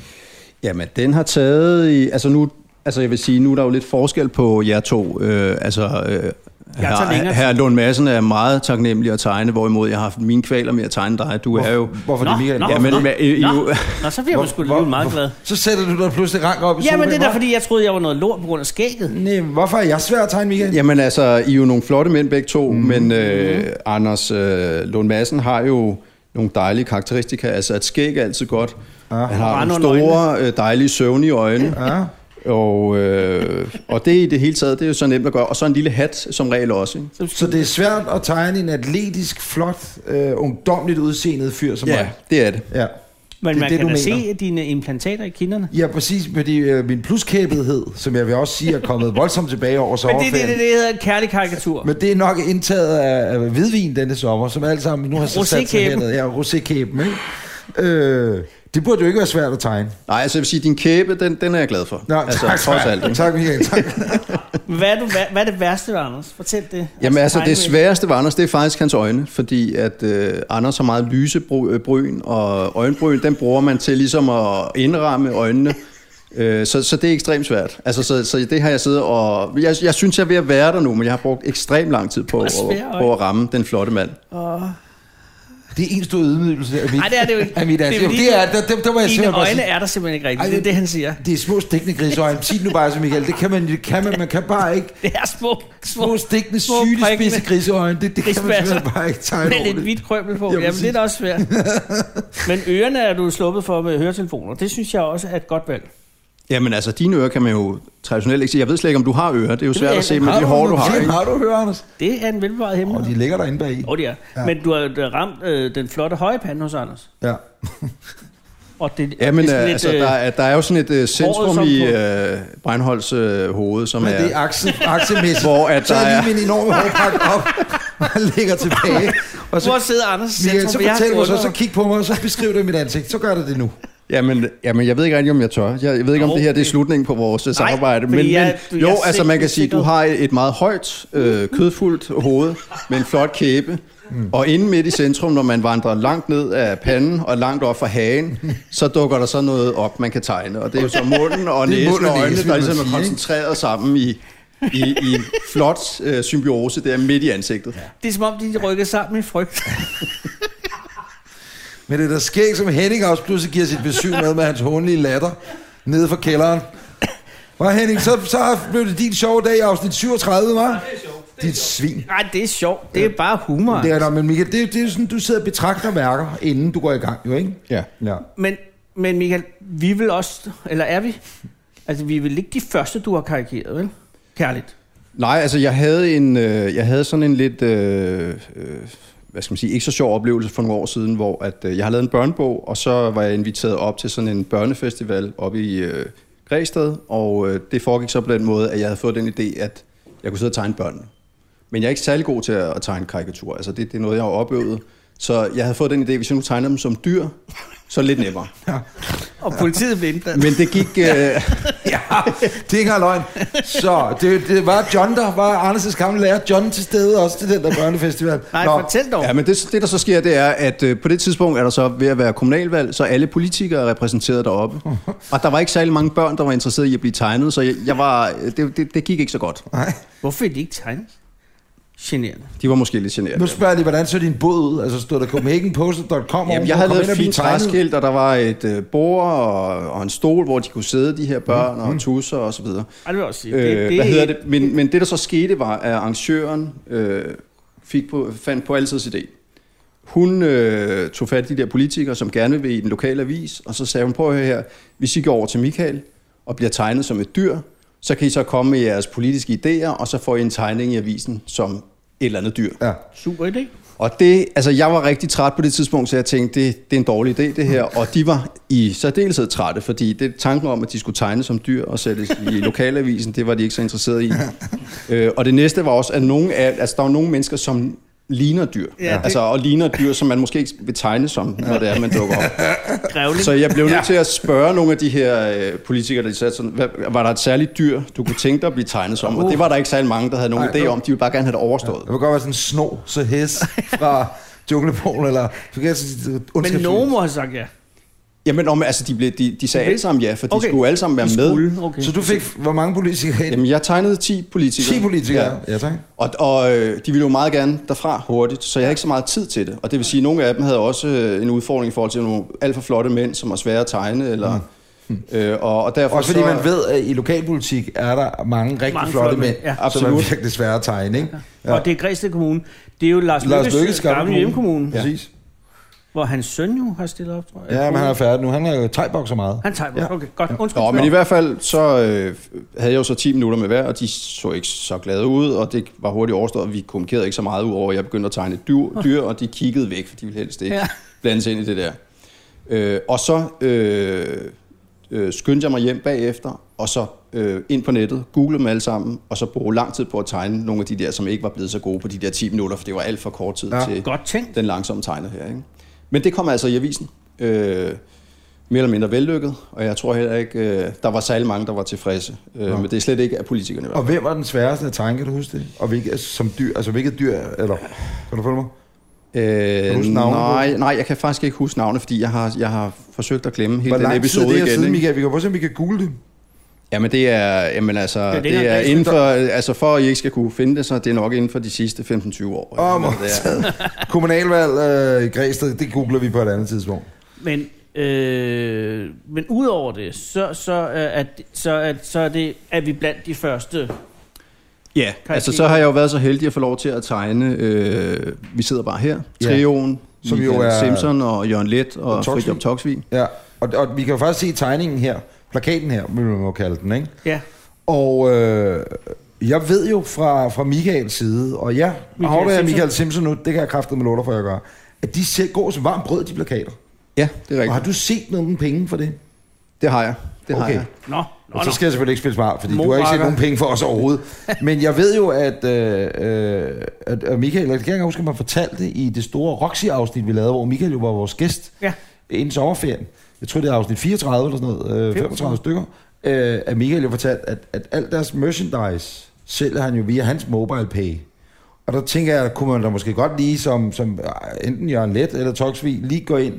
Jamen, den har taget i... Altså, nu, altså jeg vil sige, nu er der jo lidt forskel på jer to. Øh, altså, øh,
tager længere
her,
tid.
her Lund Madsen er meget taknemmelig at tegne, hvorimod jeg har haft mine kvaler med at tegne dig. Du er jo...
Hvorfor det Michael?
nå. Ja, men-
nå,
men I- I-
nå,
jo-
nå, så bliver man sgu alligevel meget glad.
Så sætter du dig pludselig rank op i
Jamen,
sofaen,
det er da
hva'?
fordi, jeg troede, jeg var noget lort på grund af skægget.
Nej, hvorfor er jeg svær at tegne, Michael?
Jamen altså, I er jo nogle flotte mænd begge to,
Mhm.
mm. men øh, Anders øh, Lund Madsen har jo nogle dejlige karakteristika. Altså, et skæg er altid godt.
Ja.
Han har
Bare
nogle
nogle
store, øh, dejlige, søvnige øjne.
Ja.
Og, øh, og det i det hele taget, det er jo så nemt at gøre. Og så en lille hat som regel også. Ikke?
Så det er svært at tegne en atletisk, flot, øh, ungdomligt udseendet fyr som
Ja,
mig.
det er det.
Ja.
Men
det er
man
det,
kan
du
da
mener.
se dine implantater i kinderne.
Ja, præcis, fordi øh, min pluskæbethed, som jeg vil også sige, er kommet voldsomt tilbage over
Men det,
sommerferien.
det, det, det hedder en kærlig karikatur.
Men det er nok indtaget af, af hvidvin denne sommer, som alt sammen nu har så sat sig
Rosékæben.
hernede. Ja, rosékæben, ikke? Øh, det burde jo ikke være svært at tegne.
Nej, altså jeg vil sige, din kæbe, den, den er jeg glad for.
Nå,
altså,
tak,
trods alt.
tak,
Ikke?
tak, Michael, tak.
Hvad er, du, hvad, hvad er det værste, Anders? Fortæl det.
Jamen altså, det
tegnmæssigt.
sværeste ved Anders, det er faktisk hans øjne, fordi at øh, Anders har meget lyse bry- øh, bryn, og øjenbryn, den bruger man til ligesom at indramme øjnene. Øh, så, så det er ekstremt svært. Altså, så, så det har jeg siddet og... Jeg, jeg synes, jeg er ved at være der nu, men jeg har brugt ekstremt lang tid på,
Du har
at,
svære øjne.
på at ramme den flotte mand.
Det er en stor ydmygelse af mit,
Nej, det er det jo ikke.
af mit
Det er
ansigt.
fordi,
Det er, der, der, der var jeg
Dine
simpelthen bare
øjne
sige,
er der simpelthen ikke
Ej,
rigtigt. Det er
det-
det, han siger.
det er små stikkende grisøjne. Sig det nu bare så, Michael. Det kan man, det kan man, man kan bare ikke.
Det er små, små,
Små stikkende,
små
syge,
prikkende
spidse griseøjne. Det, det kan man
grisbasser.
simpelthen bare ikke tegne
med lidt
ordentligt.
hvidt krømmel på.
Ja,
Jamen, det er
præcis.
da også svært. Men ørerne er du sluppet for med høretelefoner. Det synes jeg også er et godt valg.
Jamen altså, dine ører kan man jo traditionelt ikke se. Jeg ved slet ikke, om du har ører. Det er jo
ved
svært
jeg
at se
ikke.
med de hår, du
nogle
har.
ting?
Ikke?
Har du hørt, Anders? Oh.
Det er en velbevaret
Og de
hemmelighed.
ligger derinde bagi.
Åh, det er.
Ja.
Men du har du har ramt øh, den flotte høje pande hos Anders.
Ja.
Og det,
Ja, men
det er sådan
altså,
øh,
der, er, der er jo sådan et uh, centrum
som
i
på-
uh, Breinholds uh, hoved, som
Men
er...
det er akse, aksemæssigt.
Hvor at
så
der
er
er-
lige min enorme hårpakke op og ligger tilbage. Og så,
Hvor sidder Anders? i
Michael,
centrum?
så
For jeg har
fortæl mig så,
undret
så kig på mig, og så beskriv det i mit ansigt. Så gør det det nu.
Jamen, jamen, jeg ved ikke rigtig, om jeg tør. Jeg, jeg ved ikke, om
Nå,
det her det er
okay.
slutningen på vores Nej, samarbejde.
fordi
Men,
jeg-
men,
jeg
jo,
er
altså man kan sige, du
sikkert-
har et meget højt, øh, kødfuldt hoved med en flot kæbe. Og inde midt i centrum, når man vandrer langt ned af panden og langt op fra hagen, så dukker der så noget op, man kan tegne. Og det er jo så munden og
Det er
næsen
munden og
og øjnene,
næsen,
der
vil man
ligesom er
sige, ikke?
koncentreret sammen i, i, i en flot øh, symbiose der midt i ansigtet.
Det er som om, de rykker sammen i frygt.
Men det der sker, som Henning også pludselig giver sit besøg med med hans håndlige latter nede fra kælderen. Var Henning, så, så blev det din sjove dag i afsnit 37, var? Dit svin.
Nej, det er sjovt. Det er bare humor.
altså.
altså.
Det er der, men Michael, det, det er jo sådan, du sidder og betragter værker, inden du går i gang, jo ikke?
Ja.
Ja.
Men, men Michael, vi vil også... Eller er vi? Altså, vi vil ikke de første, du har karikeret, vel? Kærligt.
Nej, altså jeg havde, en, øh, jeg havde sådan en lidt, øh, øh, hvad skal man sige, ikke så sjov oplevelse for nogle år siden, hvor at, øh, jeg har lavet en børnebog, og så var jeg inviteret op til sådan en børnefestival oppe i øh, Græsted, og øh, det foregik så på den måde, at jeg havde fået den idé, at jeg kunne sidde og tegne børnene. Men jeg er ikke særlig god til at, at tegne karikaturer, altså det, det er noget, jeg har opøvet. Så jeg havde fået den idé, at hvis jeg nu tegner dem som dyr, så er det lidt nemmere.
Og politiet blev indblandet.
Men det gik... Øh,
Ja, det er ikke engang løgn. Så det, det var John, der var Anders' gamle lærer, John til stede også til den der børnefestival.
Nej, fortæl dog.
Ja, men det, det der så sker, det er, at øh, på det tidspunkt er der så ved at være kommunalvalg, så alle politikere er repræsenteret deroppe. Og der var ikke særlig mange børn, der var interesseret i at blive tegnet, så jeg, jeg var, øh, det, det, det gik ikke så godt.
Nej.
Hvorfor er de ikke tegnet? Generende.
De var måske lidt
Nu
generede.
spørger jeg lige, hvordan så din båd ud? Altså stod der copenhagenposter.com
Jamen, jeg havde lavet et fint træskilt, og der var et øh, bord og, og en stol, hvor de kunne sidde, de her børn, og tusser og så videre.
Ej, det vil jeg også sige.
Øh, hvad hedder det? Men, men det, der så skete, var, at arrangøren øh, fik på, fandt på altid idé. Hun øh, tog fat i de der politikere, som gerne vil i den lokale avis, og så sagde hun, prøv at høre her, hvis I går over til Michael og bliver tegnet som et dyr, så kan I så komme med jeres politiske idéer, og så får I en tegning i avisen som et eller andet dyr.
Ja.
Super idé.
Og det, altså jeg var rigtig træt på det tidspunkt, så jeg tænkte, det, det er en dårlig idé det her.
Mm.
Og de var i særdeleshed trætte, fordi det tanken om, at de skulle tegne som dyr og sættes i lokalavisen, det var de ikke så interesserede i. Øh, og det næste var også, at nogle af, altså, der var nogle mennesker, som ligner dyr.
Ja, det-
Altså, og ligner dyr, som man måske ikke vil tegne som, når det er, man dukker op.
Grævling.
Så jeg blev nødt til at spørge nogle af de her øh, politikere, der sagde sådan, hvad, var der et særligt dyr, du kunne tænke dig at blive tegnet som?
Uh.
Og det var der ikke særlig mange, der havde nogen
Nej,
idé
nu-
om. De ville bare gerne have det overstået.
Det kunne godt være sådan en sno, så hæs fra junglepolen, eller... Du kan,
Men nogen må have sagt ja.
Jamen, om, altså, de, blev, de, de sagde alle sammen ja, for de
Okay.
okay. skulle alle sammen være
De
med.
skulle, Okay.
Så du fik, hvor mange politikere? Jamen,
Jamen, jeg tegnede 10 politikere.
10 politikere? Ja, ja tak.
Og, og øh, de ville jo meget gerne derfra hurtigt, så jeg havde ikke så meget tid til det. Og det vil sige, at nogle af dem havde også øh, en udfordring i forhold til nogle alt for flotte mænd, som var svære at tegne. Eller, øh, og, og derfor
Også fordi
så,
man ved, at i lokalpolitik er der mange rigtig
Mange
mange flotte
flotte
mænd,
mænd, ja.
ja. som er
Absolut.
virkelig svære at tegne, ikke?
Ja. Og det er Græsted Kommune. Det er jo Lars, øh,
Lars Løkkes
gamle hjemkommune, ja.
Præcis.
hvor hans søn jo har stillet op, tror jeg.
Ja, men han er færdig nu. Han er jo tegbokser meget.
Han tager
Ja.
ja. Okay, godt. Undskyld.
Nå, men i hvert fald, så øh, havde jeg jo så 10 minutter med hver, og de så ikke så glade ud, og det var hurtigt overstået, og vi kommunikerede ikke så meget ud over, at jeg begyndte at tegne et dyr, dyr og de kiggede væk, for de ville helst ikke
Ja.
ja. blande sig ind i det der. Øh, og så øh, øh, skyndte jeg mig hjem bagefter, og så øh, ind på nettet, googlede dem alle sammen, og så bruge lang tid på at tegne nogle af de der, som ikke var blevet så gode på de der 10 minutter, for det var alt for kort tid
Ja.
ja. til,
Godt tænkt.
den langsomme tegner her. Ikke? Men det kom altså i avisen. Øh, mere eller mindre vellykket, og jeg tror heller ikke, øh, der var særlig mange, der var tilfredse. Øh, men det er slet ikke af politikerne. i hvert
Og hvem var den sværeste at tegne, kan du huske det? Og hvilket, som dyr, altså hvilket dyr, eller kan du følge mig?
fald.
du
Øh,
huske navnet på
nej, nej, jeg kan faktisk ikke huske navnet, fordi jeg har, jeg har forsøgt at glemme hele
Hvor
den
lang tid er
episode
det her
igen.
siden,
ikke?
Michael? Vi kan prøve at se, om vi kan google det.
Jamen det er, jamen altså,
er
det er,
længere
det er
bag.
inden for, altså for at I ikke skal kunne finde det, så er det nok inden for de sidste 15-20 år.
Åh,
Eller hvad det er.
Kommunalvalg øh, i Græsted, det googler vi på et andet tidspunkt.
Men, øh, men udover det, så, så, øh, at, så, at, så er, det, er vi blandt de første.
Ja,
Kan
altså
jeg
så
se-
har jeg jo været så heldig at få lov til at tegne, øh, vi sidder bare her,
Ja.
trioen,
Som jo
Michael
er-
Simpson og Jørgen Let og,
Og
og
Toksvig.
Fridtjof Toksvig.
Ja, og, og vi kan jo faktisk se tegningen her, plakaten her, vil man må kalde den, ikke?
Ja,
Og øh, jeg ved jo fra, fra Michaels side, og ja,
Michael
Michael det er
Simpson.
Michael Simpson nu, det kan jeg kræfte med lutter for, jeg gør, at de ser, går som varmt brød, de plakater.
Ja, det er
Og
rigtigt.
har du set noget med penge for det?
Det har jeg. Det har
Okay.
okay. jeg.
nå, nå,
Og
nå.
så skal jeg selvfølgelig ikke spille smart, fordi du har ikke set
Morakker.
nogen penge for os overhovedet. Men jeg ved jo, at, øh, øh, at og Michael, jeg kan ikke engang huske, at man fortalte i det store Roxy-afsnit, vi lavede, hvor Michael jo var vores gæst
Ja.
inden sommerferien. Jeg tror, det er afsnit 34 eller sådan noget, øh, 35 stykker. Øh, at Michael jo fortalte, at, at alt deres merchandise sælger han jo via hans mobile pay. Og der tænker jeg, kunne man da måske godt lige, som, som øh, enten Jørgen Let eller Toksvig, lige gå ind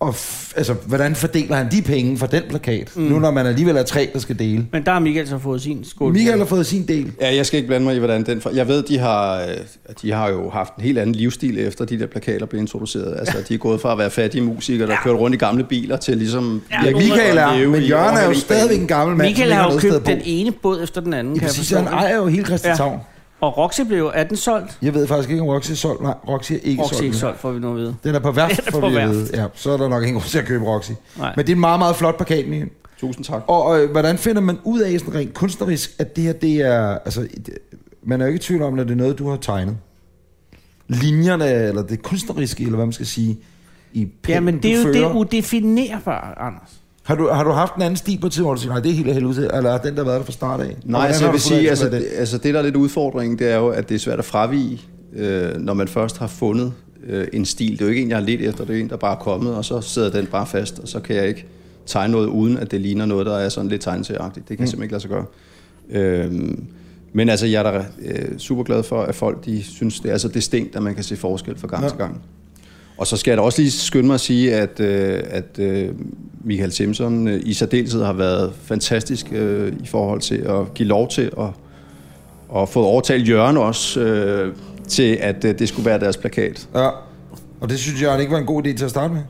og f- altså, hvordan fordeler han de penge fra den plakat, mm. nu når man alligevel er tre, der skal dele?
Men der har Michael så fået sin skål.
Michael har fået sin del.
Ja, jeg skal ikke blande mig i, hvordan den... For... Jeg ved, de har, øh, de har jo haft en helt anden livsstil, efter de der plakater blev introduceret. Altså, de er gået fra at være fattige musikere, der ja. kørte rundt i gamle biler, til ligesom...
Ja,
Ja, Michael er,
leve
men
i
Jørgen er jo
overhængig
stadigvæk en gammel mand,
Michael
som ikke
har jo
noget sted at
købt
bo.
den ene båd efter den anden,
Ja,
kan
præcis,
jeg
han
forstå.
ejer jo hele Christianshavn. Ja.
Og Roxy blev jo, er den solgt?
Jeg ved faktisk ikke, om Roxy er solgt. Nej, Roxy er ikke
Roxy er ikke
solgt. nu.
solgt, får vi nu at vide.
Den er på
Den er
værft, for
på
vi at
værft.
vide. Ja, så er der nok ingen grund til at købe Roxy.
Nej.
Men det er en meget, meget flot plakat, Michael.
Tusind tak.
Og, og øh, hvordan finder man ud af sådan rent kunstnerisk, at det her, det er... Altså, det- man er jo ikke i tvivl om, at det er noget, du har tegnet. Linjerne, eller det kunstneriske, eller hvad man skal sige, i
Ja,
pennen,
men det er
du
jo
fører.
det udefinerbare, Anders.
Har du, har du haft en anden stil på et tidspunkt, hvor du siger, nej, det er helt af helvede, til," eller har den der været der fra start af? Og
Nej,
hvordan
altså,
har
jeg
du
vil
fundet ud
sige,
af,
altså,
hvad
det, altså, det, der er lidt udfordringen, det er jo, at det er svært at fravige, øh, når man først har fundet øh, en stil. Det er jo ikke en, jeg har lidt efter, det er en, der bare er kommet, og så sidder den bare fast, og så kan jeg ikke tegne noget, uden at det ligner noget, der er sådan lidt tegneserieagtigt. Det kan mm. simpelthen ikke lade sig gøre. Øhm, men altså, jeg er da øh, super glad for, at folk de synes, det er så distinkt, at man kan se forskel fra gang ja. til gang. Og så skal jeg da også lige skynde mig at sige, at, øh, at øh, Michael Simpson øh, i særdeleshed har været fantastisk øh, i forhold til at give lov til at, og få overtalt Jørgen også øh, til, at øh, det skulle være deres plakat.
Ja. Og det synes jeg ikke var en god idé til at starte med.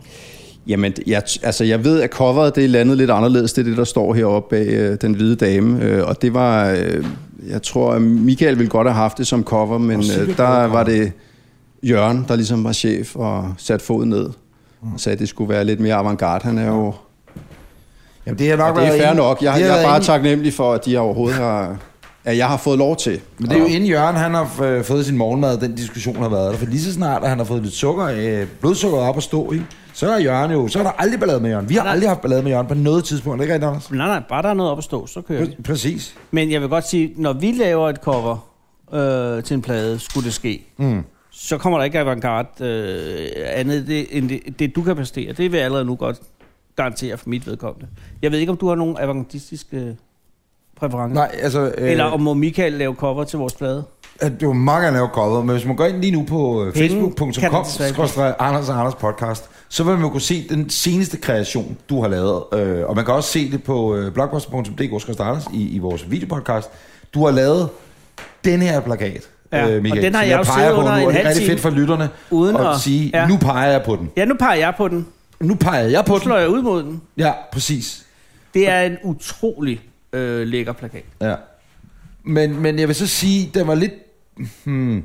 Jamen, jeg, altså, jeg ved, at coveret det er landet lidt anderledes. Det er det, der står heroppe bag øh, den hvide dame. Øh, og det var... Øh, jeg tror, at Michael ville godt have haft det som cover, men
Og Silke
øh,
kunne
der
have
var det Jørgen, der ligesom var chef og satte foden ned. Og sagde, at det skulle være lidt mere avantgarde. Han er jo...
Jamen, det har nok
Og det er
været
fair
inden-
nok.
det
Jeg,
har
jeg er
været
bare
inden-
taknemmelig for, at de overhovedet har... At jeg har fået lov til.
Men det er jo inden Jørgen, han har øh, fået sin morgenmad, den diskussion har været der. For lige så snart, at han har fået lidt sukker, øh, blodsukker op at stå i, så er Jørgen jo, så er der aldrig ballade med Jørgen. Vi har
Nej.
aldrig haft ballade med Jørgen på noget tidspunkt, ikke rigtigt, Anders?
Nej, nej, bare der er noget op at stå, så kører vi.
Præ- Præcis.
Men jeg vil godt sige, når vi laver et cover øh, til en plade, skulle det ske, mm. så kommer der ikke avantgarde øh, andet det, end det, det, du kan præstere. Det vil jeg allerede nu godt garantere for mit vedkommende. Jeg ved ikke, om du har nogle avantgardistiske præferencer.
Nej, altså... Øh,
Eller om må Michael lave cover til vores plade?
At det var mange, han er jo kommet, men hvis man går ind lige nu på øh,
Penge kan
facebook.com,
man desværre ikke.
skråstreg Anders og Anders podcast, så vil man jo kunne se den seneste kreation, du har lavet. Øh, og man kan også se det på øh, blogpost.dk i, i vores videopodcast. Du har lavet den her plakat,
Ja,
øh, Michael,
og den har
som
jeg jo
peger
siddet
på
under
nu,
en
og det er
halv
rigtig
time,
fedt for lytterne
uden
at
at-
sige,
ja.
nu peger jeg på den.
Ja, nu peger jeg på den.
Nu peger jeg på
Nu
den.
slår jeg ud mod den.
Ja, præcis.
Det er en utrolig øh, lækker plakat.
Ja. Men, men jeg vil så sige, den var lidt... Hmm.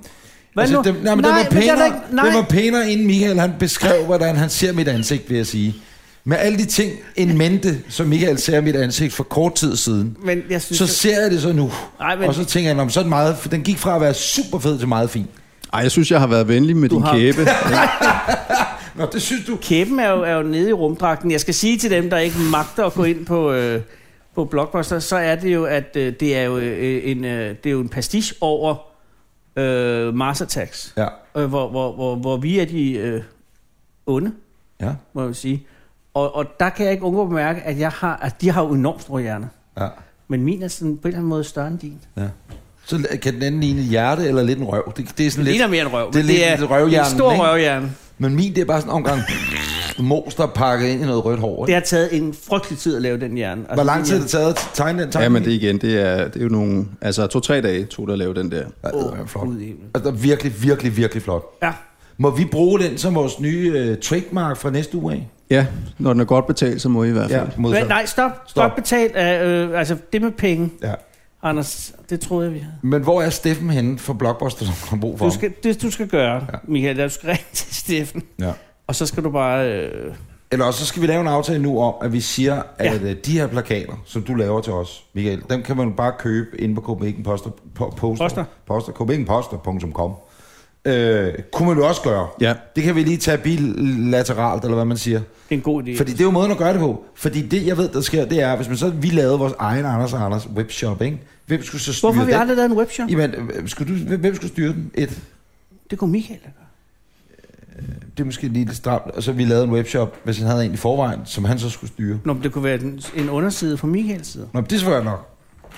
Hvad nu?
Den, nej, men
Nej,
den, var
men jeg er da
pænere,
ikke- nej.
den var pænere, inden Michael han beskrev, hvordan han ser mit ansigt, vil jeg sige. Med alle de ting en mente, som Michael ser mit ansigt for kort tid siden,
Men jeg synes...
så ser jeg det så nu.
Nej, men-
Og så tænker jeg, om sådan meget, for den gik fra at være super fed til meget fin.
Ej, jeg synes, jeg har været venlig med
Du
du din
har-
har... kæbe.
Nå, det synes du.
Kæben er jo, er jo nede i rumdragten. Jeg skal sige til dem, der ikke magter at gå ind på, øh, på Blockbuster, så er det jo, at øh, det, er jo, øh, en, øh, det er jo en pastiche over øh, Mars Attacks,
Ja,
øh, hvor, hvor, hvor, hvor vi er de øh, onde,
ja,
må jeg sige. Og, og der kan jeg ikke undgå at bemærke, at, jeg har, at de har jo enormt store hjerner.
ja.
Men min er sådan på en eller anden måde større end din.
ja. Så la- kan den anden ligne et hjerte eller lidt en røv. Det, det er sådan
Det ligner
lidt...
mere en røv.
det er
men
lidt en røvhjerne,
en stor
ikke?
røvhjerne.
Men min, det er bare sådan en omgang mos, der er pakket ind i noget rødt hår.
Det
ikke?
har taget en frygtelig tid at lave den hjerne. Altså,
Hvor lang
din
tid har
hjerne-
det taget at tegne den?
Ja, men det igen, det er, det er jo nogle... Altså, to-tre dage tog det at lave den der.
Ja, det er flot.
Gud i himlen.
Altså, virkelig, virkelig, virkelig flot.
Ja,
Må vi bruge den som vores nye øh, trademark fra næste uge af?
Ja, når den er godt betalt, så må I i hvert fald. Ja.
modtaget.
Men, nej, stop. Stop,
Stop.
stop betalt af, øh, altså det med penge,
Ja.
Anders, det troede jeg, vi havde.
Men hvor er Steffen henne for Blockbuster, som har brug for
Du
ham?
skal, det du skal gøre,
Ja.
ja. Michael, er, at du skal ringe til Steffen,
Ja.
og så skal du bare... Øh,
Eller også, så skal vi lave en aftale nu om, at vi siger,
Ja.
at ja. de her plakater, som du laver til os, Michael, dem kan man bare købe inde på Copenhagen Poster, po- poster,
Poster.
poster copenhagenposter.com. Øh, kunne man jo også gøre.
Ja.
Det kan vi lige tage bilateralt, eller hvad man siger.
det er en god idé.
Fordi det er jo måden at gøre det på. Fordi det, jeg ved, der sker, det er, hvis man så, vi lavede vores egen Anders og Anders webshop, ikke? Hvem skulle så styre
Hvorfor har vi
den?
aldrig lavet en webshop?
Jamen, øh, skulle du, hvem- hvem skulle styre den? Et,
Det kunne Michael da gøre.
det er måske lige lidt stramt. Og så vi lavede en webshop, hvis han havde en i forvejen, som han så skulle styre.
Nå, men det kunne være den, en underside fra Michaels side.
Nå, men det er svært nok.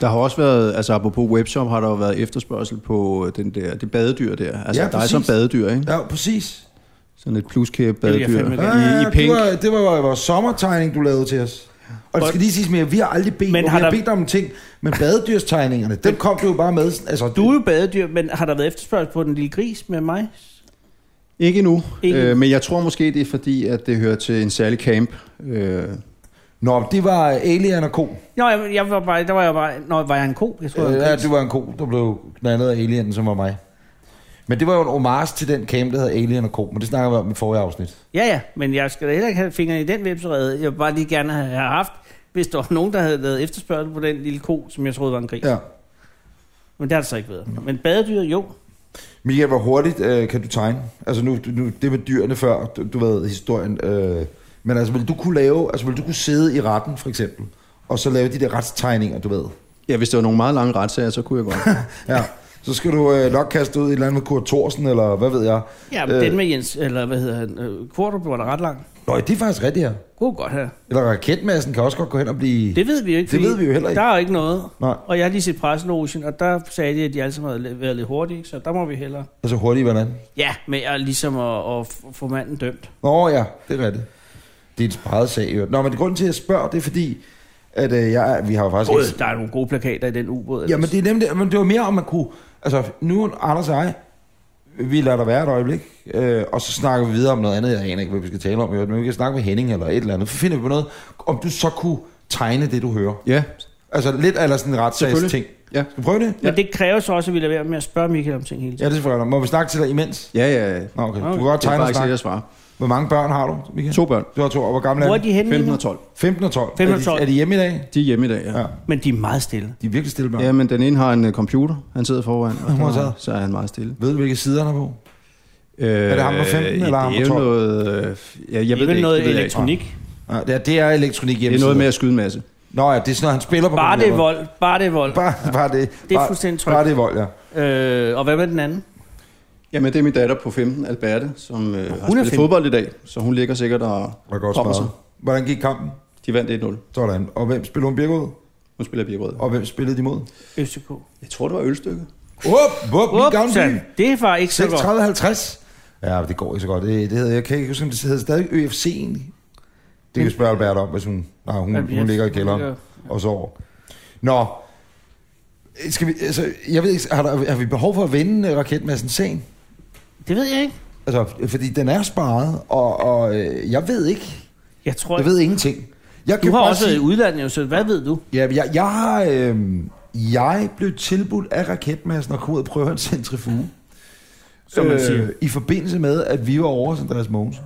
Der har også været, altså apropos webshop, har der jo været efterspørgsel på øh, den der, det badedyr der. Altså
Ja,
ja, dig som
præcis.
badedyr, ikke?
Ja, præcis.
Sådan et pluskæbe
vil jeg
badedyr
fandme
Ah,
i,
gerne.
i
det,
pink.
var, det var vores sommertegning, du lavede til os. Og det
Og-
skal lige siges mere, vi har aldrig bedt,
Men
men
har
har vi har
der-
bedt om en ting, men badedyrstegningerne, dem kom du jo bare med. sådan- Altså,
Du er jo badedyr, men har der været efterspørgsel på den lille gris med mig?
Ikke endnu,
Ikke
øh,
endnu.
men jeg tror måske, det er fordi, at det hører til en særlig camp. Øh,
Nå, det var Alien og ko.
Nå, jeg, jeg var bare, der var jeg bare... Nå, var jeg en ko? Jeg tror,
Øh,
jeg var
ja,
en gris.
det var en ko, der blev knaldet af alienen, som var mig. Men det var jo en homage til den camp, der hed Alien og ko, men det snakker vi om i forrige afsnit.
Ja, ja, men jeg skal da heller ikke have fingrene i den vipserede. Jeg vil bare lige gerne have have haft, hvis der var nogen, der havde lavet efterspørgsel på den lille ko, som jeg troede var en gris. Ja.
Ja.
Men det har det så ikke været. Men badedyr, jo.
Michael, hvor hurtigt øh, kan du tegne? Altså nu, nu, det med dyrene før, du, du ved historien. Øh, men altså, vil du kunne lave, altså vil du kunne sidde i retten for eksempel, og så lave de der retstegninger, du ved?
ja, hvis det var nogle meget lange retssager, så kunne jeg godt.
Ja. Så skal du øh, nok kaste ud i et eller andet med Kurt Thorsen, eller hvad ved jeg.
Ja, men
Øh.
øh. den med Jens, eller hvad hedder han, øh, Kvartrup var da ret lang.
Nå, det er faktisk rigtigt her.
God godt her.
Eller raketmassen kan også godt gå hen og blive...
Det ved vi jo ikke.
Det
fordi
ved vi jo heller ikke.
Der er jo ikke noget.
Nej.
Og jeg har lige set presselogen, og der sagde de, at de alle sammen havde været lidt hurtige, så der må vi hellere.
Altså hurtigt, hvordan?
Ja, med at ligesom at, at f- få manden dømt.
Nå ja, det er rigtigt. Det er en sparet sag, jo. Nå, men grunden til, at jeg spørger, det er fordi, at øh, jeg, vi har jo faktisk...
God, der er nogle gode plakater i den ubåd.
Jamen, det er nemlig, men det var mere om, man kunne... Altså, nu, Anders og jeg, vi lader dig være et øjeblik, øh, og så snakker vi videre om noget andet. Jeg aner ikke, hvad vi skal tale om, i øvrigt, men vi kan snakke med Henning eller et eller andet. Så finder vi på noget, om du så kunne tegne det, du hører.
ja,
Altså, lidt eller sådan en retssags ting.
selvfølgelig. Ja.
Skal vi prøve det?
Men det kræver så også, at vi lader være med at spørge Michael om ting hele
Ja,
tiden.
det er selvfølgelig. Må vi snakke til dig imens?
ja, ja. ja.
Nå, okay. Du
Okay.
kan godt
Det er
tegne og
faktisk det,
snakke.
jeg svarer.
Hvor mange børn har du, Michael?
To børn,
Du har to, og hvor gamle
Hvor
er
er
de?
de henne?
15
lige nu?
og 12.
15 og 12.
15 og 12.
Er de, er de hjemme i dag?
De er hjemme i dag, ja.
Ja.
ja.
Men de er meget stille.
De er virkelig stille børn.
Jamen, den ene har en øh, computer, han sidder foran, og
modtaget.
der, så er han meget stille.
Ved du, hvilke sider han er på?
Øh, er
det ham på 15, eller ham på
det er jo
12?
noget... Øh, ja,
Det
jeg ved
er
det
vel
ikke.
noget
det ved jeg ikke.
elektronik.
Ja, det er, det er elektronik
Det er
hjemmeside.
noget med at skyde en masse.
Nå ja, det er sådan noget, han spiller på.
Bare det er
computeren.
vold. Bare det er vold.
Bare, bare det.
Det er
bare,
fuldstændig trygt.
Bare det er vold, ja.
Øh, og hvad med den anden?
Jamen, det er min datter på 15, Alberte, som øh, har spillet
15.
fodbold i dag, så hun ligger sikkert og
Var godt
popper
sparet. Hvordan gik kampen?
De vandt 1-0.
Sådan. Og hvem spillede hun Birkerud?
Hun spiller Birkerød.
Og hvem spillede de mod?
FCK.
Jeg tror, det var Ølstykke.
Op, op, min gamle by.
Upsa, det var ikke så godt.
36-50. Ja, det går ikke så godt. Det, det hedder, jeg kan ikke huske, om det hedder stadig ØFC egentlig. Det kan vi spørge Albert om, hvis hun, nej, hun,
Ja,
hun,
ja,
ligger i
hun
kælderen
ligger-
og sover. Nå, skal vi, altså, jeg ved ikke, har, der, har vi behov for at vende øh, raketmassen sen?
Det ved jeg ikke.
Altså, fordi den er sparet, og, og øh, jeg ved ikke.
Jeg tror,
Jeg ved ingenting. Jeg
du
kan
har
bare
også
sige-
været i udlandet, jo, så hvad ved du?
Ja, men jeg, jeg har... Øh, jeg blev tilbudt af raketmassen at komme ud og prøve en centrifuge. Øh,
Som man siger.
I forbindelse med, at vi var over hos Andreas Mogensen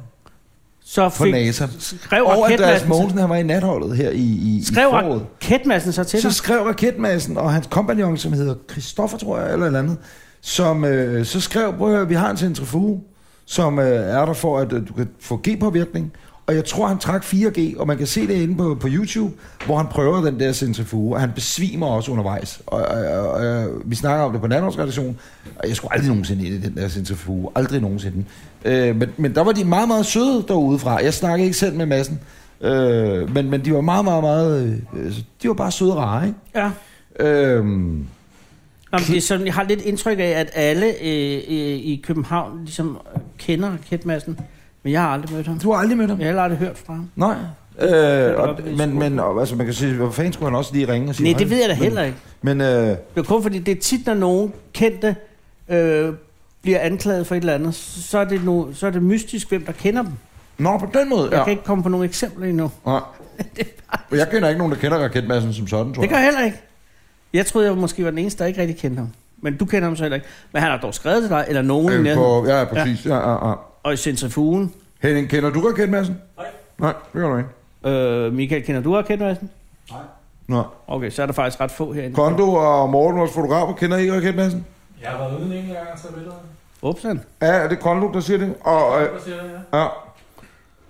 Så
på
fik,
NASA.
skrev
Og Andreas
raketmassen,
Mogensen, han var i natholdet her i, i, i
skrev
foråret.
raketmassen så til
Så
dig?
skrev raketmassen og hans kompagnon, som hedder Christoffer, tror jeg, eller et eller andet, som øh, så skrev, prøv at høre, vi har en centrifuge, som øh, er der for, at øh, du kan få G-påvirkning. Og jeg tror, han trak 4G, og man kan se det inde på, på YouTube, hvor han prøver den der centrifuge, og han besvimer også undervejs. Og, og, og, og vi snakker om det på natårsredaktionen, og jeg skulle aldrig nogensinde ind i den der centrifuge. Aldrig nogensinde. Øh, men, men der var de meget, meget søde derudefra. Jeg snakkede ikke selv med massen, øh, men, men de var meget, meget, meget... Øh, de var bare søde og rare, ikke?
Ja.
Øhm,
Jamen, det er sådan, jeg har lidt indtryk af, at alle øh, øh, i København ligesom øh, kender raketmassen, men jeg har aldrig mødt ham.
du har aldrig mødt ham?
Jeg har heller aldrig hørt fra ham.
Nej.
er
Øh, og,
op i
men men og, altså, man kan sige, hvor fanden skulle han også lige ringe og sige
Nej, det ved jeg da heller ikke.
Men, men øh,
Det er kun fordi, det er tit, når nogen kendte øh, bliver anklaget for et eller andet, så er, det nu, så er det mystisk, hvem der kender dem.
nå, på den måde,
Jeg
ja.
kan ikke komme på nogle eksempler endnu.
Nej. Jeg kender ikke nogen, der kender raketmassen som sådan, tror
Det gør
jeg.
jeg heller ikke. Jeg troede, jeg måske var den eneste, der ikke rigtig kendte ham. Men du kender ham så heller ikke. Men han har dog skrevet til dig, eller nogen øh,
Øh,
på...
på, ja, ja, præcis. Ja. Ja, ja, ja.
og i centrifugen.
Henning, kender du raketmassen? Nej. Nej, det gør du ikke.
Øh, Michael, kender du raketmassen?
Nå.
Okay, så er der faktisk ret få herinde.
Kondo og Morten, vores fotografer, kender I raketmassen?
Jeg har været ude en enkelt gang og taget billeder.
Upsen.
Ja, er det Kondo, der siger det? Og, øh,
Hvad siger du? Ja.
ja.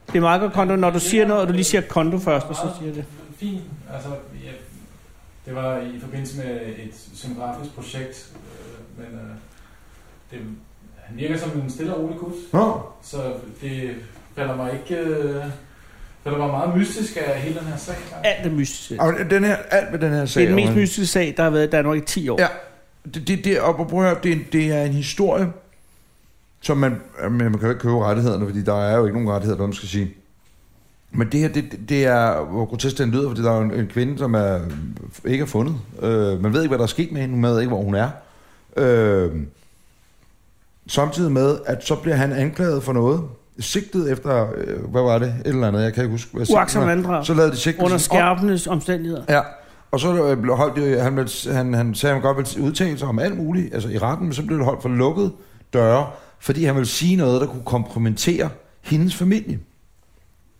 Det er meget godt kondo, når du siger noget, og du lige siger kondo først, og så siger jeg det.
Fint. Altså, ja, det var i forbindelse med et scenografisk projekt, øh, men øh, det, han virker som en stille og rolig gut,
Nå,
så det falder mig ikke... Øh, falder mig meget mystisk af hele den her sag.
Alt er mystisk. Det
og den her, alt med den her sag.
er den mest
Johan.
mystiske sag, der har været i Danmark i 10 år.
Ja. Det, det, det, og prøv at høre, det, er en- det er en historie, som man, men man kan jo ikke købe rettighederne, fordi der er jo ikke nogen rettigheder, hvad man skal sige. Men det her, det, det- det er, hvor grotesk den lyder, fordi der er jo en, en kvinde, som er, ikke er fundet. Øh, man ved ikke, hvad der er sket med hende, man ved ikke, hvor hun er. Øh, samtidig med, at så bliver han anklaget for noget, sigtet efter, øh, hvad var det, et eller andet, jeg kan ikke huske. Hvad sigtet
Uagtsom
var.
vanddrag.
Så lavede de sigtelsen
Under
om.
skærpende omstændigheder.
Ja, og så øh, blev holdt det, han, blev, han, han sagde, at han godt ville udtale sig om alt muligt, altså i retten, men så blev det holdt for lukkede døre, fordi han ville sige noget, der kunne kompromittere hendes familie.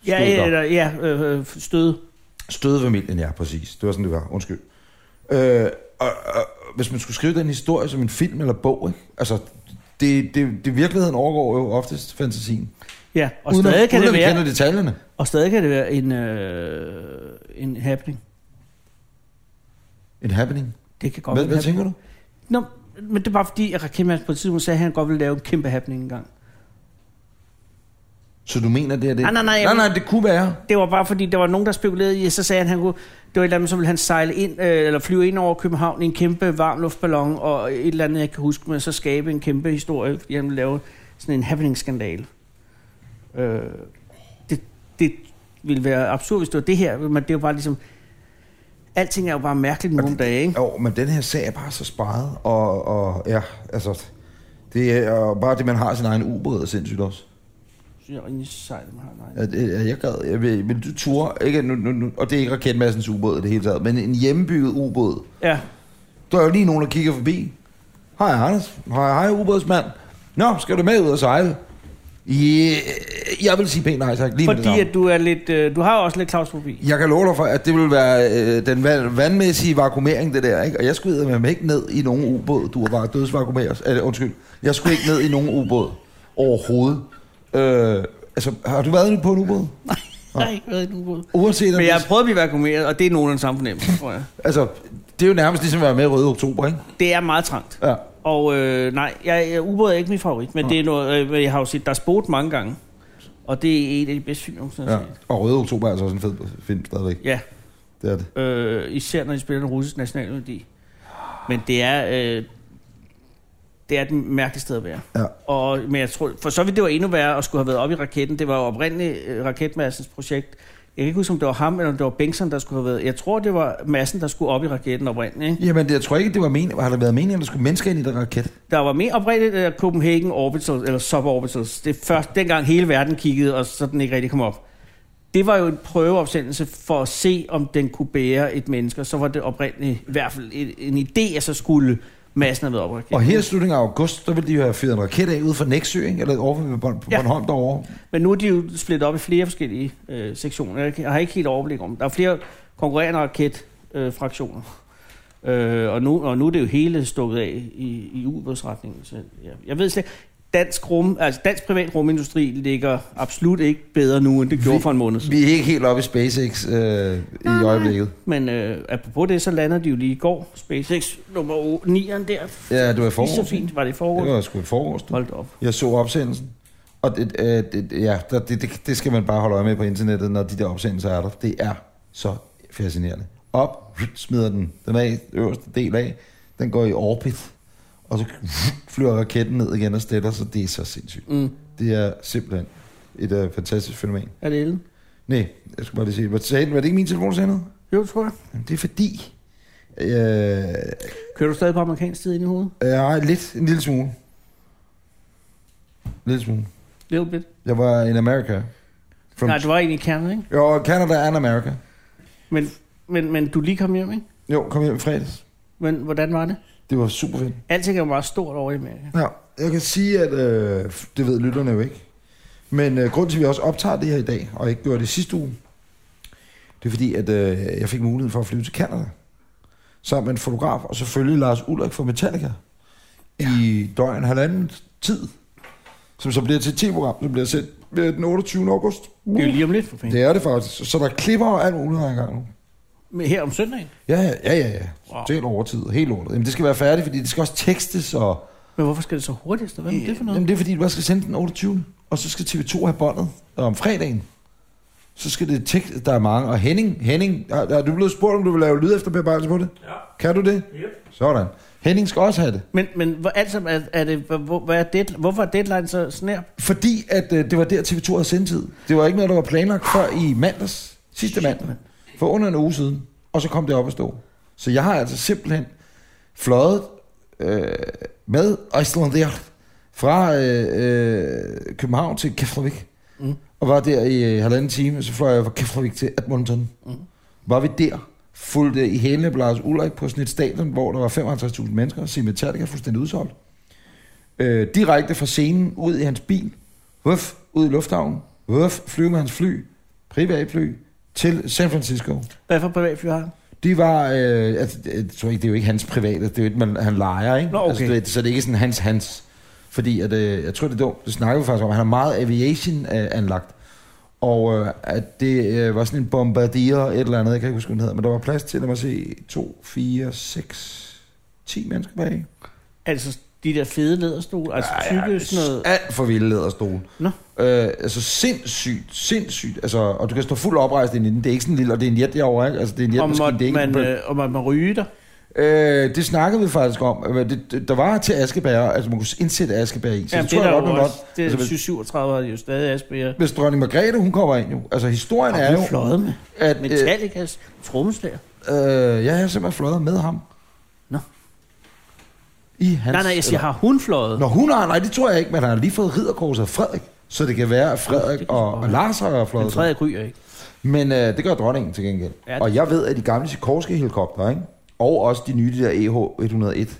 Ja,
Stod der.
eller, ja øh, øh, stød.
Støde familien, ja, præcis. Det var sådan, det var. Undskyld. Øh, og, og, hvis man skulle skrive den historie som en film eller bog, ikke? altså, det, det, det virkeligheden overgår jo oftest fantasien.
Ja, og stadig,
at,
kan
uden
det
at vi
være,
kender detaljerne.
og stadig kan det være en, øh, en happening.
En happening.
Det kan godt
Hvad,
være
hvad
en happening.
tænker du?
Nå, men det er bare fordi, at Rakim Mads på et tidspunkt sagde, at han godt ville lave en kæmpe happening engang.
Så du mener, det er det?
Nej, nej, nej, jeg
nej, nej, det kunne være.
Det var bare fordi, der var nogen, der spekulerede i, at så sagde han, at han kunne, det var et eller andet, så ville han sejle ind, øh, eller flyve ind over København i en kæmpe varmluftballon, og et eller andet, jeg kan huske, men så skabe en kæmpe historie, fordi han ville lave sådan en happening-skandale. Øh, det, det ville være absurd, hvis det var det her, men det er jo bare ligesom, alting er jo bare mærkeligt
Og
nogle
det-
dage, ikke?
Jo, men den her sag er bare så sparet, og, og ja, altså, det er og bare det, man har sin egen ubåd, er sindssygt også.
Jeg er rimelig sej, man har, nej.
At, at jeg gad, jeg vil, men du turde, ikke, nu, nu, nu, og det er ikke raketmassens ubåd i det hele taget, men en hjemmebygget ubåd.
Ja,
Der er jo lige nogen, der kigger forbi. Hej Anders, hej, hej ubådsmand. Nå, skal du med ud og sejle? Yeah, jeg vil sige pænt nej tak, lige med det
fordi
samme.
at du er lidt, øh, du har jo også lidt klaustrofobi.
Jeg kan love dig for, at det vil være øh, den vand, vandmæssige vakuumering, det der, ikke? Og jeg skulle med mig ikke ned i nogen ubåd. Du var bare dødsvakuumeret. Altså, undskyld. Jeg skulle ikke ned i nogen ubåd overhovedet. Øh, altså, har du været på en ubåd?
Nej, ikke været du god.
Uanset om...
Men jeg
Jeg...
har prøvet at blive vakuumeret, og det er nogen af den samme fornemmelse, tror jeg.
Altså, det er jo nærmest ligesom at være med i Røde Oktober, ikke?
Det er meget trangt.
Ja.
Og øh, nej, jeg, jeg, ubåd er ikke min favorit, men det er noget, øh, men jeg har jo set, der er sport mange gange. Og det er et af de bedste film, jeg nogensinde
ja.
har set.
Og Røde Oktober er altså også en fed film stadigvæk.
Ja,
Det er det.
øh, især når de spiller den russiske nationalmelodi. Men det er... Øh, Det er et mærkeligt sted at være.
Ja.
Og, men jeg tror, for så vidt det var endnu værre at skulle have været op i raketten. Det var jo oprindeligt øh, raketmassens projekt. Jeg kan ikke huske, om det var ham, eller om det var Bengtsson, der skulle have været. Jeg tror, det var massen, der skulle op i raketten oprindeligt. Ikke?
Jamen, det- jeg tror ikke, det var meningen. Har der været meningen, at der skulle mennesker ind i den raket?
Der var mere oprindeligt øh, Copenhagen Orbital, eller Suborbitals. Det er først dengang hele verden kiggede, og så den ikke rigtig kom op. Det var jo en prøveopsendelse for at se, om den kunne bære et menneske. og Så var det oprindeligt i hvert fald en, en idé, at så skulle massen have været op i raketten.
Og her i slutningen af august, der ville de jo have fyret en raket af ud fra Næksø, ikke? eller over ved Born- på
Ja.
Bornholm ja. derovre.
Men nu er de jo splittet op i flere forskellige øh, sektioner. Jeg kan- Jeg har ikke helt overblik om. Der er flere konkurrerende raketfraktioner. Øh, fraktioner. øh, og, nu, og nu er det jo hele stukket af i, i ubådsretningen. Så ja. Jeg ved slet ikke- dansk, rum, altså dansk privat rumindustri ligger absolut ikke bedre nu, end det gjorde for en måned siden.
Vi er ikke helt oppe i SpaceX øh, i øjeblikket.
Men øh, apropos det, så lander de jo lige i går. SpaceX nummer 9'eren der.
Ja, det var i
Lige så
forårs. ikke?
fint var det i
Det
foråret.
var sgu i forårs. du.
Hold da op.
Jeg så opsendelsen. Og det, øh, det, ja, der- det, det, det skal man bare holde øje med på internettet, når de der opsendelser er der. Det er så fascinerende. Op, smider den den af, øverste del af. Den går i orbit. Og så flyver raketten ned igen og stiller sig. Det er så sindssygt.
Mm.
Det er simpelthen et øh, fantastisk fænomen.
Er det Ellen?
Nej, jeg skulle bare lige sige, hvad sagde den? Var det ikke min telefon, der sagde noget?
Jo, tror jeg.
Jamen, det er fordi... Øh,
Kører du stadig på amerikansk tid ind i hovedet?
Ja, Øh, lidt. En lille smule. En lille smule.
Little bit.
Jeg var in America. From
Nej, du var egentlig i Canada, ikke?
Jo, Canada and America.
Men, men, men du er lige kom hjem, ikke?
Jo, kom hjem i fredags.
Men hvordan var det?
Det var super fedt.
Alting er jo meget stort over i Amerika.
Ja, jeg kan sige, at øh, det ved lytterne jo ikke. Men øh, grunden til, at vi også optager det her i dag, og ikke gjorde det sidste uge, det er fordi, at øh, jeg fik muligheden for at flyve til Canada sammen med en fotograf, og selvfølgelig Lars Ulrik fra Metallica ja. i døgn halvanden tid, som så bliver til et program som bliver sendt øh, den 28. august.
Det er jo lige om lidt for fanden.
Det er det faktisk. Så der er klipper og alt muligt her engang nu.
Men her om søndagen.
Ja, ja, ja, ja. ja.
Wow.
Wow. Helt overtid, helt lortet. Jamen, det skal være færdigt, fordi det skal også tekstes, og...
Men hvorfor skal det så hurtigt? Hvad er det for noget?
Jamen, det er fordi, du bare skal sende den 28. Og så skal TV2 have båndet Og om fredagen. Så skal det tekst, der er mange. Og Henning, Henning, er, er du blevet spurgt, om du vil lave lyd efter på det?
Ja.
Kan du det?
Yep.
Sådan. Henning skal også have det.
Men, men hvor, altså, er, er det, hvor- hvor, hvad er deadline, hvorfor er deadline så snær?
Fordi at øh, det var der TV2 havde sendtid. Det var ikke noget, der var planlagt før i mandags. Sidste mandag. For under en uge siden. Og så kom det op at stå. Så jeg har altså simpelthen fløjet øh, med Icelandair fra øh, øh, København til Keflavik.
Mm.
Mm. Og var der i øh, halvanden time. Så fløj jeg fra Keflavik til Edmonton.
Mm.
Mm. Var vi der fulgte i hælene på Lars Ulrik på sådan et stadion, hvor der var 55.000 mennesker, og se Metallica fuldstændig udsolgt øh, direkte fra scenen ud i hans bil, Vuff, ud i lufthavnen, Vuff, flyve med hans fly, privatfly, til San Francisco.
Hvad for privatfly har han?
De var, øh, altså, jeg tror ikke, det er jo ikke hans private, det er jo et, man, han leger, ikke?
Nå, okay.
altså, du ved, så det er ikke sådan hans, hans. Fordi, at, øh, jeg tror, det er dumt, det snakker vi faktisk om, han er meget aviation øh, anlagt. Og øh, at det øh, var sådan en bombardier et eller andet, jeg kan ikke huske, hvad den hedder, men der var plads til, lad mig se, 2, 4, 6, 10 mennesker bag.
Altså de der fede læderstole, altså tykke sådan noget.
Alt for vilde læderstole.
Nå.
Øh, altså sindssygt, sindssygt. Altså, og du kan stå fuldt oprejst inde i den. Det er ikke sådan en lille, og det er en jet derovre, ikke? Altså, det er en
Og
jetmaskine, det er
måtte
ikke
man,
en-
øh, og måtte man ryge der.
Øh, det snakkede vi faktisk om. Øh, Det, det, der var til Askebær, altså man kunne indsætte Askebær i. Så
Jamen,
Jamen,
det,
tror
er
jeg
der
godt, man
jo
godt.
også, det
Altså,
er
hvis,
737 er jo stadig Asbjerg.
hvis dronning Margrethe, hun kommer ind jo. Altså historien
Og
er
er
jo,
fløjet med
at øh,
Metallicas trommeslager.
øh, jeg har simpelthen fløjet med ham.
Nå.
I hans,
Nej, nej, jeg siger, har hun fløjet?
Nå, hun har, nej, det tror jeg ikke, men han har lige fået ridderkorset af Frederik. Så det kan være, at Frederik
Det kan
og,
sgu
og
være.
Lars har
Men
fløjet sig.
Frederik ryger ikke.
Men øh, det gør dronningen til gengæld.
Ja, det-
Ja, og jeg ved, at de gamle Sikorske helikopter, ikke? og også de nye, de der E EH-101,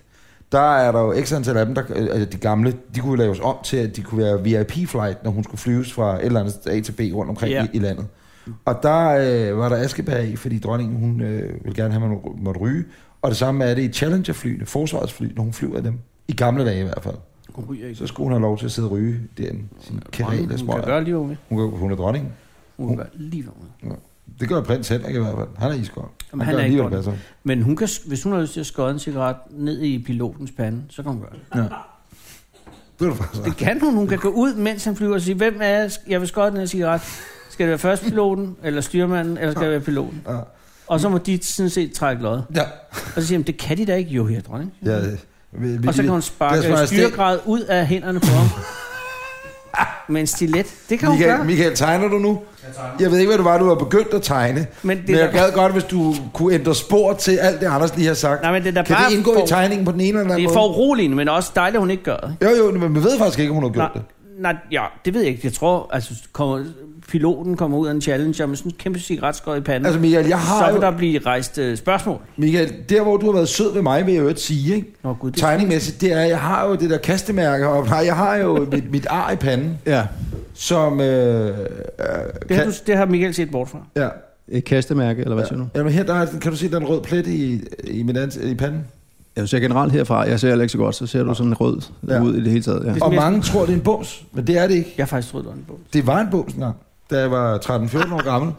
der er der jo ekstra antal af dem, der, øh, altså de gamle, de kunne laves om til, at de kunne være VIP-flight, når hun skulle flyves fra et eller andet A til B rundt omkring
Ja.
ja. i, i landet. Og der øh, var der Askebær i, fordi dronningen, hun øh, ville gerne have, at man måtte ryge. Og det samme er det i Challenger-flyene, forsvarets fly, når hun flyver af dem. I gamle dage i hvert fald.
Hun ryger ikke.
Så skulle hun have lov til at sidde og ryge derinde. Sin
Dronningen,
karate,
hun kan gøre lige hvad hun vil.
hun, kan- hun er dronningen.
Hun kan gøre lige hvad hun vil.
Det gør prins Henrik i hvert fald. Han er iskold.
Jamen, han
Han, han gør
er
lige,
ikke
hvad der passer.
Men hun kan, hvis hun har lyst til at skåde en cigaret ned i pilotens pande, så kan hun gøre det.
Det er du faktisk
Det kan hun. Hun kan gå ud, mens han flyver og sige, hvem er jeg? Jeg vil skåde den her cigaret. Skal det være førstpiloten, eller styrmanden, eller skal det være piloten?
Ja.
Og så må de sådan set trække lod.
Ja.
Og så siger han, det kan de da ikke. Jo, her, dronning.
ja. Vi,
Og så kan hun
Lad os
sparke
bare
øh,
stille-
styregrad ud af hænderne på ham. Med en stilet. Det kan hun
Michael,
gøre.
Michael, tegner du nu?
Jeg tegner.
Jeg ved ikke, hvad du var, du var begyndt at tegne.
Men det
Men
er
jeg
da-
gad godt, hvis du kunne ændre spor til alt det, Anders lige har sagt.
Nej, men det er da
kan
bare
det indgå
for-
i tegningen på den ene eller den
Det
anden
er
måde?
for uroligende, men også dejligt, at hun ikke gør det.
Jo, jo, men man ved faktisk ikke, om hun har gjort
Nej,
det.
nej, ja, det ved jeg ikke. Jeg tror, altså, kommer, piloten kommer ud af en challenge med sådan en kæmpe cigaretskod i panden.
Altså, Michael, jeg har
så vil
jo...
der blive rejst øh, spørgsmål.
Michael, der hvor du har været sød ved mig, vil jeg jo ikke sige, ikke?
Nå, Gud, det-
Tegningmæssigt, det er, jeg har jo det der kastemærke, og nej, jeg har jo mit, mit ar i panden,
Ja,
som... Øh, øh,
Det har,
kan,
du, det har Michael set bort fra.
Ja,
et kastemærke, eller hvad ja. siger du?
Jamen her, der er, kan du se, der er en rød plet i, i, min ans- i panden.
Jeg ser generelt herfra, jeg ser heller ikke så godt, så ser du sådan rød
Ja.
ja. ud i det hele taget. Ja.
Det-
Og mange tror, det er en bums, men det er det ikke.
Jeg har faktisk troet, det var en bog.
Det var en bums engang, da jeg var 13-14 år gammel.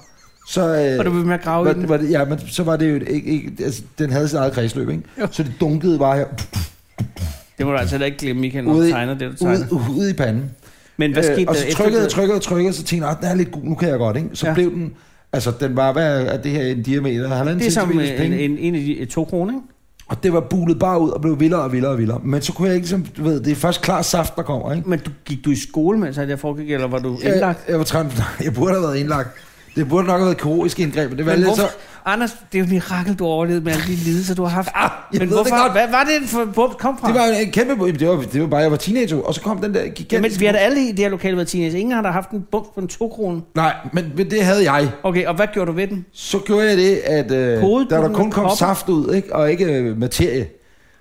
Så, øh,
Og du vil med at grave i
var,
den.
var det, ja, men så var det jo et- ikke, ikke altså, den havde sit eget kredsløb, ikke?
Jo.
Så det dunkede bare her,
Det må du altså heller ikke glemme, Michael, når
Ude
du
i-
tegner det, du tegner.
ude, ude i panden. Øh,
Men hvad skete
og
der
så
efter?
trykkede jeg,
det?
trykkede jeg, trykkede, så tænkte jeg, "Nå, den er lidt gul, nu kan jeg godt, ikke? Så
Ja.
ja. blev den, altså den var, hvad er det her, en diameter, halvanden
Det er som øh,
centimeters
en,
penge.
en, en af de to kroner, ikke?
Og det var bulet bare ud og blev vildere og vildere og vildere. Men så kunne jeg ikke, som du ved, det er først klar saft, der kommer, ikke?
Men du, gik du i skole, mens det her foregik, eller var du
Øh,
Mm, indlagt?
Jeg, jeg var 13, nej, jeg burde have været indlagt. Det burde nok have været kirurgisk indgreb, men det var
Men
lidt så...
hvorfor- Anders, det er jo et mirakel, du overlevede med alle de lidelser, du har haft.
Ah, jeg
men
ved det
hvorfor?
godt.
Hvad var det for bump kom fra?
Det var en kæmpe... Jamen, Det var, det var bare, jeg var teenager, og så kom den der gigantiske...
ja, men vi har da alle i det her lokale været teenager. Ingen har da haft en bump på en 2 kroner.
Nej, men, men det havde jeg.
Okay, og hvad gjorde du ved den?
Så gjorde jeg det, at øh,
Hovedet
da
på
der
den
kun
med
kom
kroppen.
saft ud, ikke? og ikke øh, materie.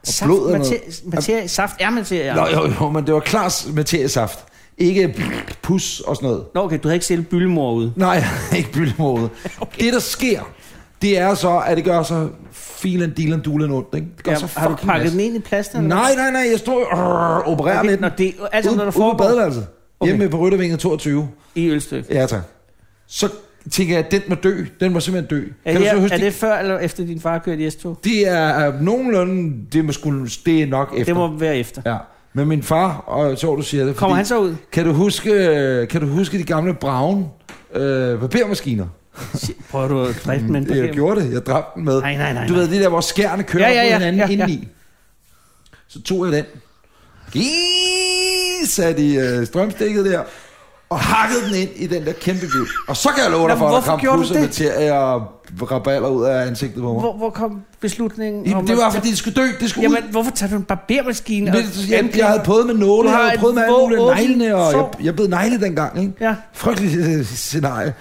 Og
Saft,
blod og noget.
materie, materie, saft er materie.
Nå,
Anders.
jo, jo, men det var klar materiesaft. Ikke pus og sådan noget.
Nå, okay, du havde ikke selv byllemor ude.
Nej, ikke byldemåde. Okay. Det, der sker, det er så, at det gør så filen, dealen, dulen ondt, ikke? Det gør
Ja,
så
har du
fucking
pakket
masse.
den ind i plasten? eller
Nej, nej, nej, jeg stod og opererer
Okay,
med den.
nå, det er alt sammen,
Ude-
når der
ude på
foregår.
badeværelset.
Okay.
Hjemme på Ryttervinget 22.
hvad? I Ølstykke.
Ja, tak. Så tænker jeg, at den må dø. Den må simpelthen dø.
Er,
kan du så
det,
huske
er
det?
det før eller efter din far kørte i S2?
Det er øh, nogenlunde, det, må skulle, det er nok efter.
Det må være efter.
Ja. Men min far, og så du siger det,
Kommer
fordi-
han så ud?
Kan du huske, øh, kan du huske de gamle braun øh, papirmaskiner?
Shit, Prøver du at dræbe med en
Jeg
parkering?
gjorde det, jeg dræbte den med.
Nej, nej, nej.
Du
nej.
ved, det der, hvor skærne kører
Ja, ja, ja,
på hinanden
ja,
ja,
ja.
indeni. Så tog jeg den. Gii, satte i øh, strømstikket der. Og hakkede den ind i den der kæmpe bil. Og så kan jeg love dig
Jamen,
for, at der
hvorfor
kom
gjorde du
pusser med
det?
til at raballer ud af ansigtet på mig.
Hvor, hvor kom beslutningen?
Jamen,
om
det
at
var,
tage-
fordi det skulle dø. Det skulle ud.
Jamen, hvorfor tager du en barbermaskine? og-
Det, jeg, jeg havde prøvet med nåle,
Du
jeg
har
havde
et
prøvet med alle
våd-
mulige
åbent
neglene, og
sår.
jeg, jeg blev negle dengang, ikke?
Ja.
Frygteligt øh, scenarie.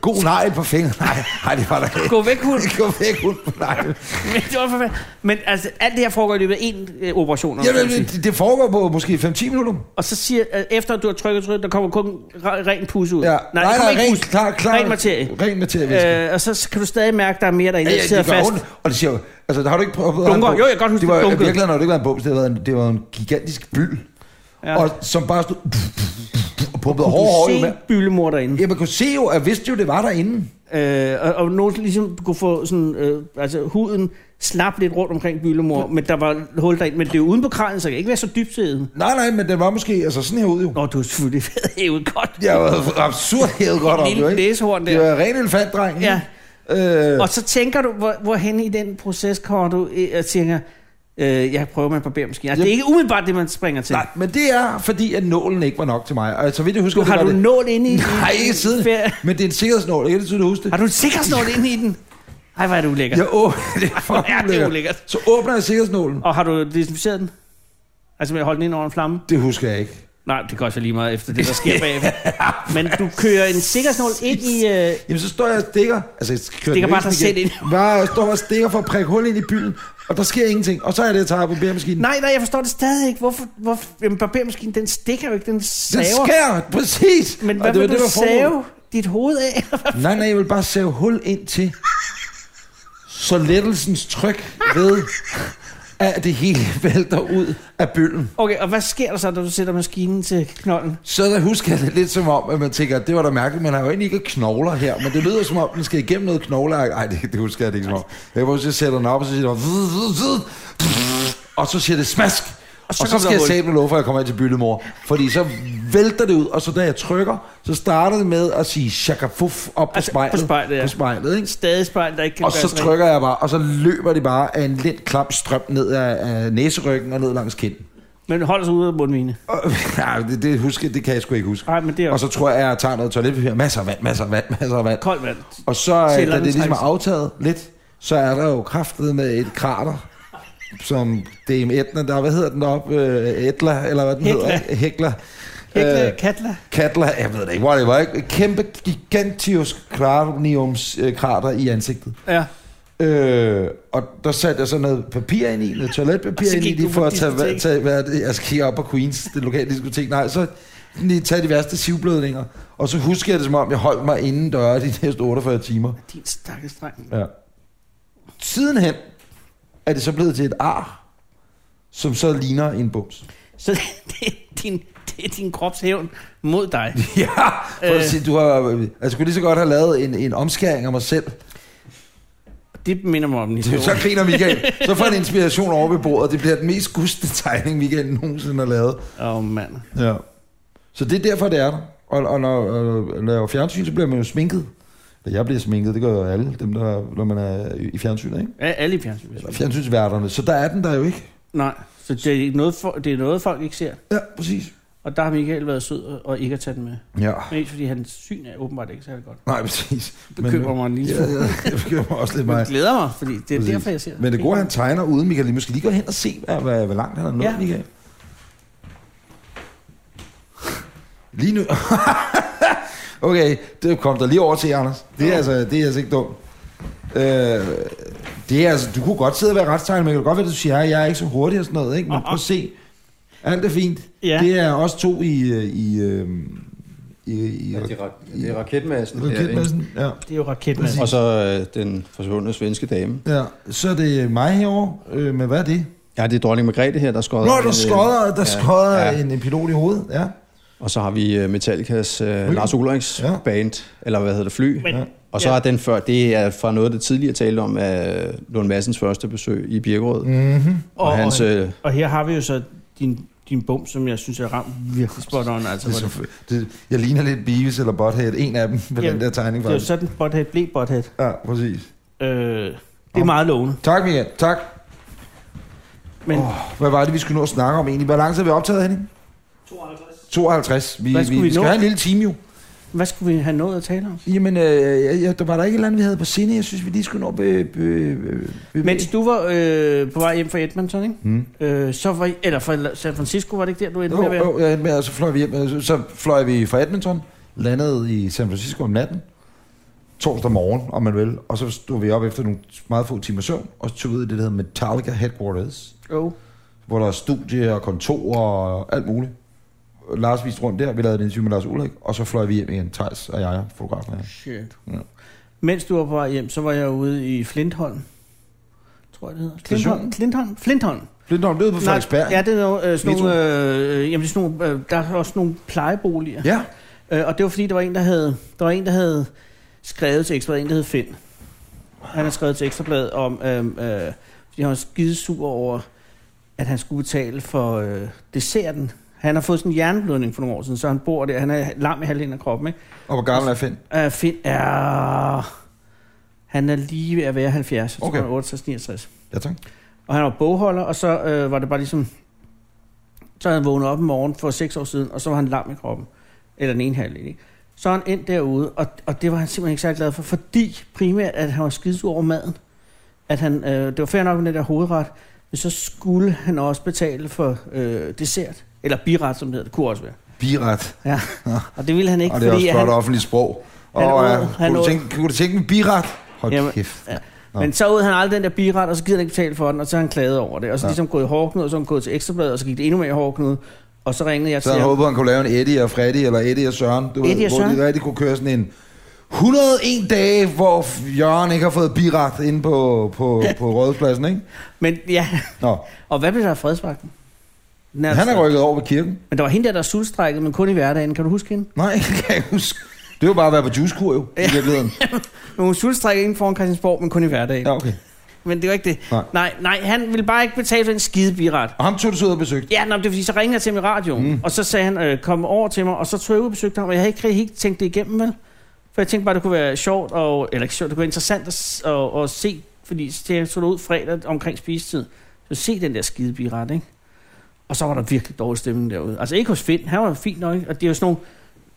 God negl på fingeren. Nej, nej, det var der ikke.
Gå væk, hund.
Gå væk, hund på neglen.
Men, det var for fanden- Men altså, alt det her foregår i løbet af én øh, operation. om man
Jamen,
kan sige.
det, det foregår på måske 5-10 minutter.
Og så siger, at efter at du har trykket trykket, der kommer kun re- ren pus ud.
Ja.
Nej, der kommer ikke
ren,
pus.
klar, klar,
Ren materie.
Ren materie, øh, ja,
Øh, og så kan du stadig mærke, at der er mere derinde, ja,
ja,
der sidder
det gør
fast.
ondt. Og det siger jo, altså, der har du ikke prøvet... at-
Dunker. Jo, jeg kan godt huske,
det var,
det dunkede.
Virkelig, når det ikke var en bums, det var en, det var en gigantisk byld.
Ja.
Ja. Og som bare stod... Og pumpede hårdt
Du
hårdt med.
ser byllemor derinde.
Ja, man kunne se jo, at vidste jo, det var derinde.
Øh, og, og nogen ligesom kunne få sådan, øh, altså huden slap lidt rundt omkring byllemor, men der var hul derind. Men det er jo uden på kranen, så det kan ikke være så dybt siddet.
Nej, nej, men den var måske altså sådan her ud jo.
Nå, du er selvfølgelig hævet godt.
Jeg var absurd hævet godt op, jo
Lille
ikke?
næsehorn
Det
der.
var ren elefantdreng, ikke?
Ja.
Øh,
Og så tænker du, hvor, hvorhen i den proces kommer du øh, og tænker, øh, jeg prøver med en barbermaskine. Altså, det er ikke umiddelbart det, man springer til.
nej, men det er, fordi at nålen ikke var nok til mig. Og så vidt jeg husker,
du, har
det
du
var
en
det.
nål inde i
Nej, ikke siden.
ferie-
Men det er en sikkerhedsnål, ikke? Det synes du huske det.
Har du en sikkerhedsnål inde i den? Ej, hvor er det ulækkert.
Jeg åbner det er
Hvor er
fucking
det
lækkert.
ulækkert.
Så åbner jeg sikkerhedsnålen.
Og har du desinficeret den? Altså med at holde den ind over en flamme?
Det husker jeg ikke.
Nej, det går så lige meget efter det, der sker bagefter. Men du kører en sikkerhedsnål ind i... Øh,
Jamen, så står jeg og stikker. Altså, jeg kører
Stikker
den
bare
væsen
dig selv
igen.
ind.
Bare jeg står og stikker for at prikke hul ind i bylden, og der sker ingenting. Og så er det, jeg tager på bæremaskinen.
nej, nej, jeg forstår det stadig ikke. Hvorfor, hvorfor jamen, barbermaskinen, den stikker jo ikke, den
det
saver.
sker, præcis.
Men
Og
hvad
det var
vil
det,
du
der var
save
formålet.
dit hoved af?
Nej, nej, jeg vil bare save hul ind til. Så lettelsens tryk ved, at det hele vælter ud af bøllen.
okay, og hvad sker der så, når du sætter maskinen til knolden?
Så der husker jeg det lidt som om, at man tænker, at det var da mærkeligt, man har jo egentlig ikke knogler her, men det lyder som om, den skal igennem noget knogler. Nej, det, det husker jeg det ikke som om. Jeg kan huske, at jeg sætter den op, og så siger det, bare, "Vud, vud, vud." og så siger det smask, Og så, og så skal jeg sætte lov for, at jeg kommer ind til Byllemor. Fordi så vælter det ud, og så da jeg trykker, så starter det med at sige shakafuf op på
Altså, på
spejlet.
spejlet, ja.
på spejlet ikke?
Stadig spejl, der ikke kan
Og så
gøres rent.
trykker jeg bare, og så løber det bare af en lidt klap strøm ned af, af næseryggen og ned langs kinden.
Men hold os ude af mundvine.
Og, ja, det, det, husker, det kan jeg sgu ikke huske.
Nej, men det er
Og
også
så tror jeg, at jeg tager noget toiletpapir. Masser af vand, masser af vand, masser af vand.
koldt vand.
Og så, øh,
Sælger
da
den
det ligesom er
trækkes.
aftaget lidt, så er der jo kraftet med et krater, som Dame Etna, der, hvad hedder den deroppe? Øh, Etla, eller hvad den
Hekla.
hedder? Hekla.
Hækla,
Øh,
katla.
Katla, jeg ved det ikke, whatever. Ikke? Et Kæmpe, gigantisk klarniums øh, krater i ansigtet.
Ja.
Øh, og der satte jeg så noget papir ind i, noget
Og
toiletpapir
så
ind i,
gik
lige
du
for
på
at tage, hvad,
diskotek.
tage hvad er det, jeg skal op på Queens, det lokale diskotek, nej, så lige tage de værste sivblødninger. Og så husker jeg det som om, jeg holdt mig inden døre de næste 48 timer.
Din stakkels dreng.
Ja. Sidenhen er det så blevet til et ar, som så ligner en bums.
Så det er din, det er din kropshævn mod dig.
Ja, for
Øh.
at sige, du har, altså, jeg skulle lige så godt have lavet en, en omskæring af mig selv.
Det minder mig om en
Så
historie.
griner Michael. Så får han inspiration over ved bordet. Det bliver den mest gustne tegning, Michael nogensinde har lavet.
Åh, oh, mand.
Ja. Så det er derfor, det er der. Og, og når, og når jeg er fjernsyn, så bliver man jo sminket. Eller jeg bliver sminket, det gør jo alle dem, der, når man er i i fjernsynet, ikke?
Ja, alle i fjernsynet.
Eller fjernsynsværterne. Så der er den der jo ikke.
Nej, så det er, noget, for, det er noget, folk ikke ser.
Ja, præcis.
Og der har Michael været sød og- og ikke at tage den med.
Ja.
Mest fordi hans syn er åbenbart ikke særlig godt.
Nej, præcis.
Det bekymrer mig en lille
Ja,
smule.
ja, jeg bekymrer mig også lidt
Men
mig.
det glæder mig, fordi det er
Præcis.
derfor, jeg ser
Men det gode, er, han tegner uden Michael. Vi måske lige gå hen og se, hvad, hvad, hvor langt han har nået,
Ja.
ja. Michael. Lige nu... okay, det kom der lige over til, Anders. Det er, altså, det er altså ikke dumt. Øh, det er altså, du kunne godt sidde og være retstegner, men det kan godt være, at du siger, at jeg er ikke så hurtig og sådan noget, ikke? men prøv at se. Alt er fint.
Ja.
Det er også to i... øh, i øhm, i, i, i,
Ja, det er, ra- det er raketmassen. der, ikke?
raketmassen. Ja.
Det er jo raketmand.
Og så øh, den forsvundne svenske dame.
ja. Så er det mig herovre. Øh, men hvad er det?
Ja, det er øh, dronning Margrethe her, der skodder.
Nå, der skodder, der
Ja,
skodder
ja.
ja. en, en pilot i hovedet, ja.
Og så har vi øh, Metallicas øh, Lars Ulrichs
Ja.
ja. band, eller hvad hedder det, Fly.
Men-
Men, og så
ja.
ja. er den før, det er fra noget, der tidligere talte om, af Lund Madsens første besøg i Birkerød. Mm.
Mm-hmm.
Og, og hans, øh,
og her har vi jo så din, din bum, som jeg synes er ramt virkelig spot on. Altså,
Det er
hvor det,
så, det, jeg ligner lidt Beavis eller Butthead, en af dem med
Ja,
den der tegning
det er jo
faktisk.
sådan, Bothead blev Bothead.
Ja, præcis.
Øh, det er meget lovende.
Tak, Michael, tak.
Men oh,
Hvad var det, vi skulle nå at snakke om egentlig? Hvor lang tid er vi optaget, Henning? 52. 52. Vi,
Hvad
vi,
skulle
vi,
vi
vi skal
nå?
have en lille time jo.
hvad skulle vi have nået at tale om?
Jamen, øh, ja, ja, der var der ikke et eller andet, vi havde på sinde. Jeg synes, vi lige skulle nå... Be, be, be, be,
Mens du var øh, på vej hjem fra Edmonton, ikke?
Mm.
Øh, så var I, eller fra San Francisco, var det ikke der, du endte med at
Jo,
være?
jo, jeg endte med, og så fløj vi hjem. øh, så- Så fløj vi fra Edmonton, landede i San Francisco om natten, torsdag morgen, om man vil, og så stod vi op efter nogle meget få timer søvn, og så tog vi ud i det, der hedder Metallica Headquarters,
Jo. Oh.
hvor der er studie og kontor og alt muligt. Og Lars viste rundt der, vi lavede en interview med Lars Ulrik, og så fløj vi hjem igen, Thijs og jeg, fotografen her.
Shit.
Ja.
Mens du var på vej hjem, så var jeg ude i Flintholm. Tror jeg, det hedder. Flintholm?
Stationen?
Flintholm? Flintholm.
Lidt om det på
Nej,
Frederiksberg.
Ja, det er jo, øh, sådan
Metro.
nogle, øh, jamen, det er sådan nogle, øh, der er også nogle plejeboliger.
ja.
Øh, og det var fordi, der var en, der havde, der var en, der havde skrevet til Ekstrabladet, en, der hed Finn. Han har skrevet til Ekstrabladet om, øh, øh, fordi han var skidesur over, at han skulle betale for øh, desserten. Han har fået sådan en hjerneblødning for nogle år siden, så han bor der. Han er lam i halvdelen af kroppen, ikke?
Og hvor gammel er Finn?
Uh, Finn er... Han er lige ved at være 70, okay.
Okay.
tror jeg, 68, 69.
Ja, tak.
Og han var bogholder, og så øh, var det bare ligesom... Så havde han vågnet op om morgenen for seks år siden, og så var han lam i kroppen. Eller den ene halvdel, ikke? Så er han endt derude, og, og det var han simpelthen ikke særlig glad for, fordi primært, at han var skidesur over maden. At han, øh, det var fair nok med den der hovedret, men så skulle han også betale for øh, dessert. Eller biret, som det hedder. Det kunne også være.
Biret.
Ja. Og det ville han ikke,
Og det er også
fordi
et
han,
flot offentligt sprog. Og
Han åd-
ja,
han
kunne, du
åd-
tænke, kunne du tænke en biret? Hold
Jamen,
kæft.
ja.
Nå.
Men så ud han aldrig den der biret, og så gider han ikke betale for den, og så har han klaget over det. Og så
Ja.
ligesom gået i hårdknud, og så er han gået til ekstrabladet, og så gik det endnu mere i hårdknud. Og så ringede jeg
Så
til
havde han
ham.
håbet, han kunne lave en Eddie og Freddy, eller Eddie og Søren. Du
Eddie
ved,
og
hvor
Søren?
de rigtig kunne køre sådan en 101 dage, hvor Jørgen ikke har fået biret inde på, på, på rådhuspladsen, ikke?
Men ja,
Nå,
og hvad blev der af fredsvagten? Den altså-
han er rykket over ved kirken.
Men der var hende der, der sulstrækkede, men kun i hverdagen. Kan du huske hende?
Nej, det kan jeg huske. Det var bare at være på juicekur jo, i virkeligheden.
Men hun sulstrækkede inden foran Christiansborg, men kun i hverdagen.
Ja, okay.
men det var ikke det.
Nej.
nej, nej han ville bare ikke betale for en skide biret.
Og ham tog du så ud og besøgte.
Ja, nå, men det er fordi, så ringede jeg til ham i radioen, mm. og så sagde han, øh, kom over til mig, og så tog jeg ud og besøgte ham, og jeg havde ikke rigtig helt tænkt det igennem, vel? For jeg tænkte bare, det kunne være sjovt, og, eller ikke sjovt, det kunne være interessant at, s- at, at se, fordi så jeg tog ud fredag omkring spisetid, så se den der skide biret, ikke? Og så var der virkelig dårlig stemning derude. Altså ikke hos Finn, han var fint nok, ikke? og det er jo sådan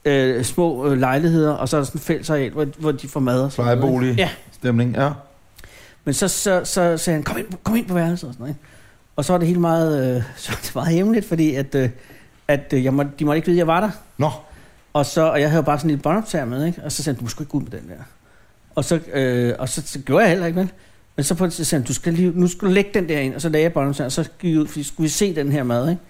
nogle øh, små øh, lejligheder, og så er der sådan et fællesareal, hvor, hvor de får mad og sådan noget, ikke?
Plejebolig.
Ja,
Stemning, ja.
men så, så, så sagde han, kom ind, kom ind på værelset og sådan noget. ikke? Og så var det helt meget, øh, så var det meget hemmeligt, fordi at, øh, at øh, jeg må, de måtte ikke vide, at jeg var der.
Nå,
Og, så, og jeg havde jo bare sådan lidt båndoptager med, ikke? og så sagde han, du skal ikke gå ud med den der. Og så, øh, og så, så gjorde jeg heller ikke, vel? Men så på et tidspunkt sagde han, du skal lige, nu skal du lægge den der ind, og så lagde jeg båndoptageren, og så gik jeg ud, fordi skulle vi se den her mad, ikke?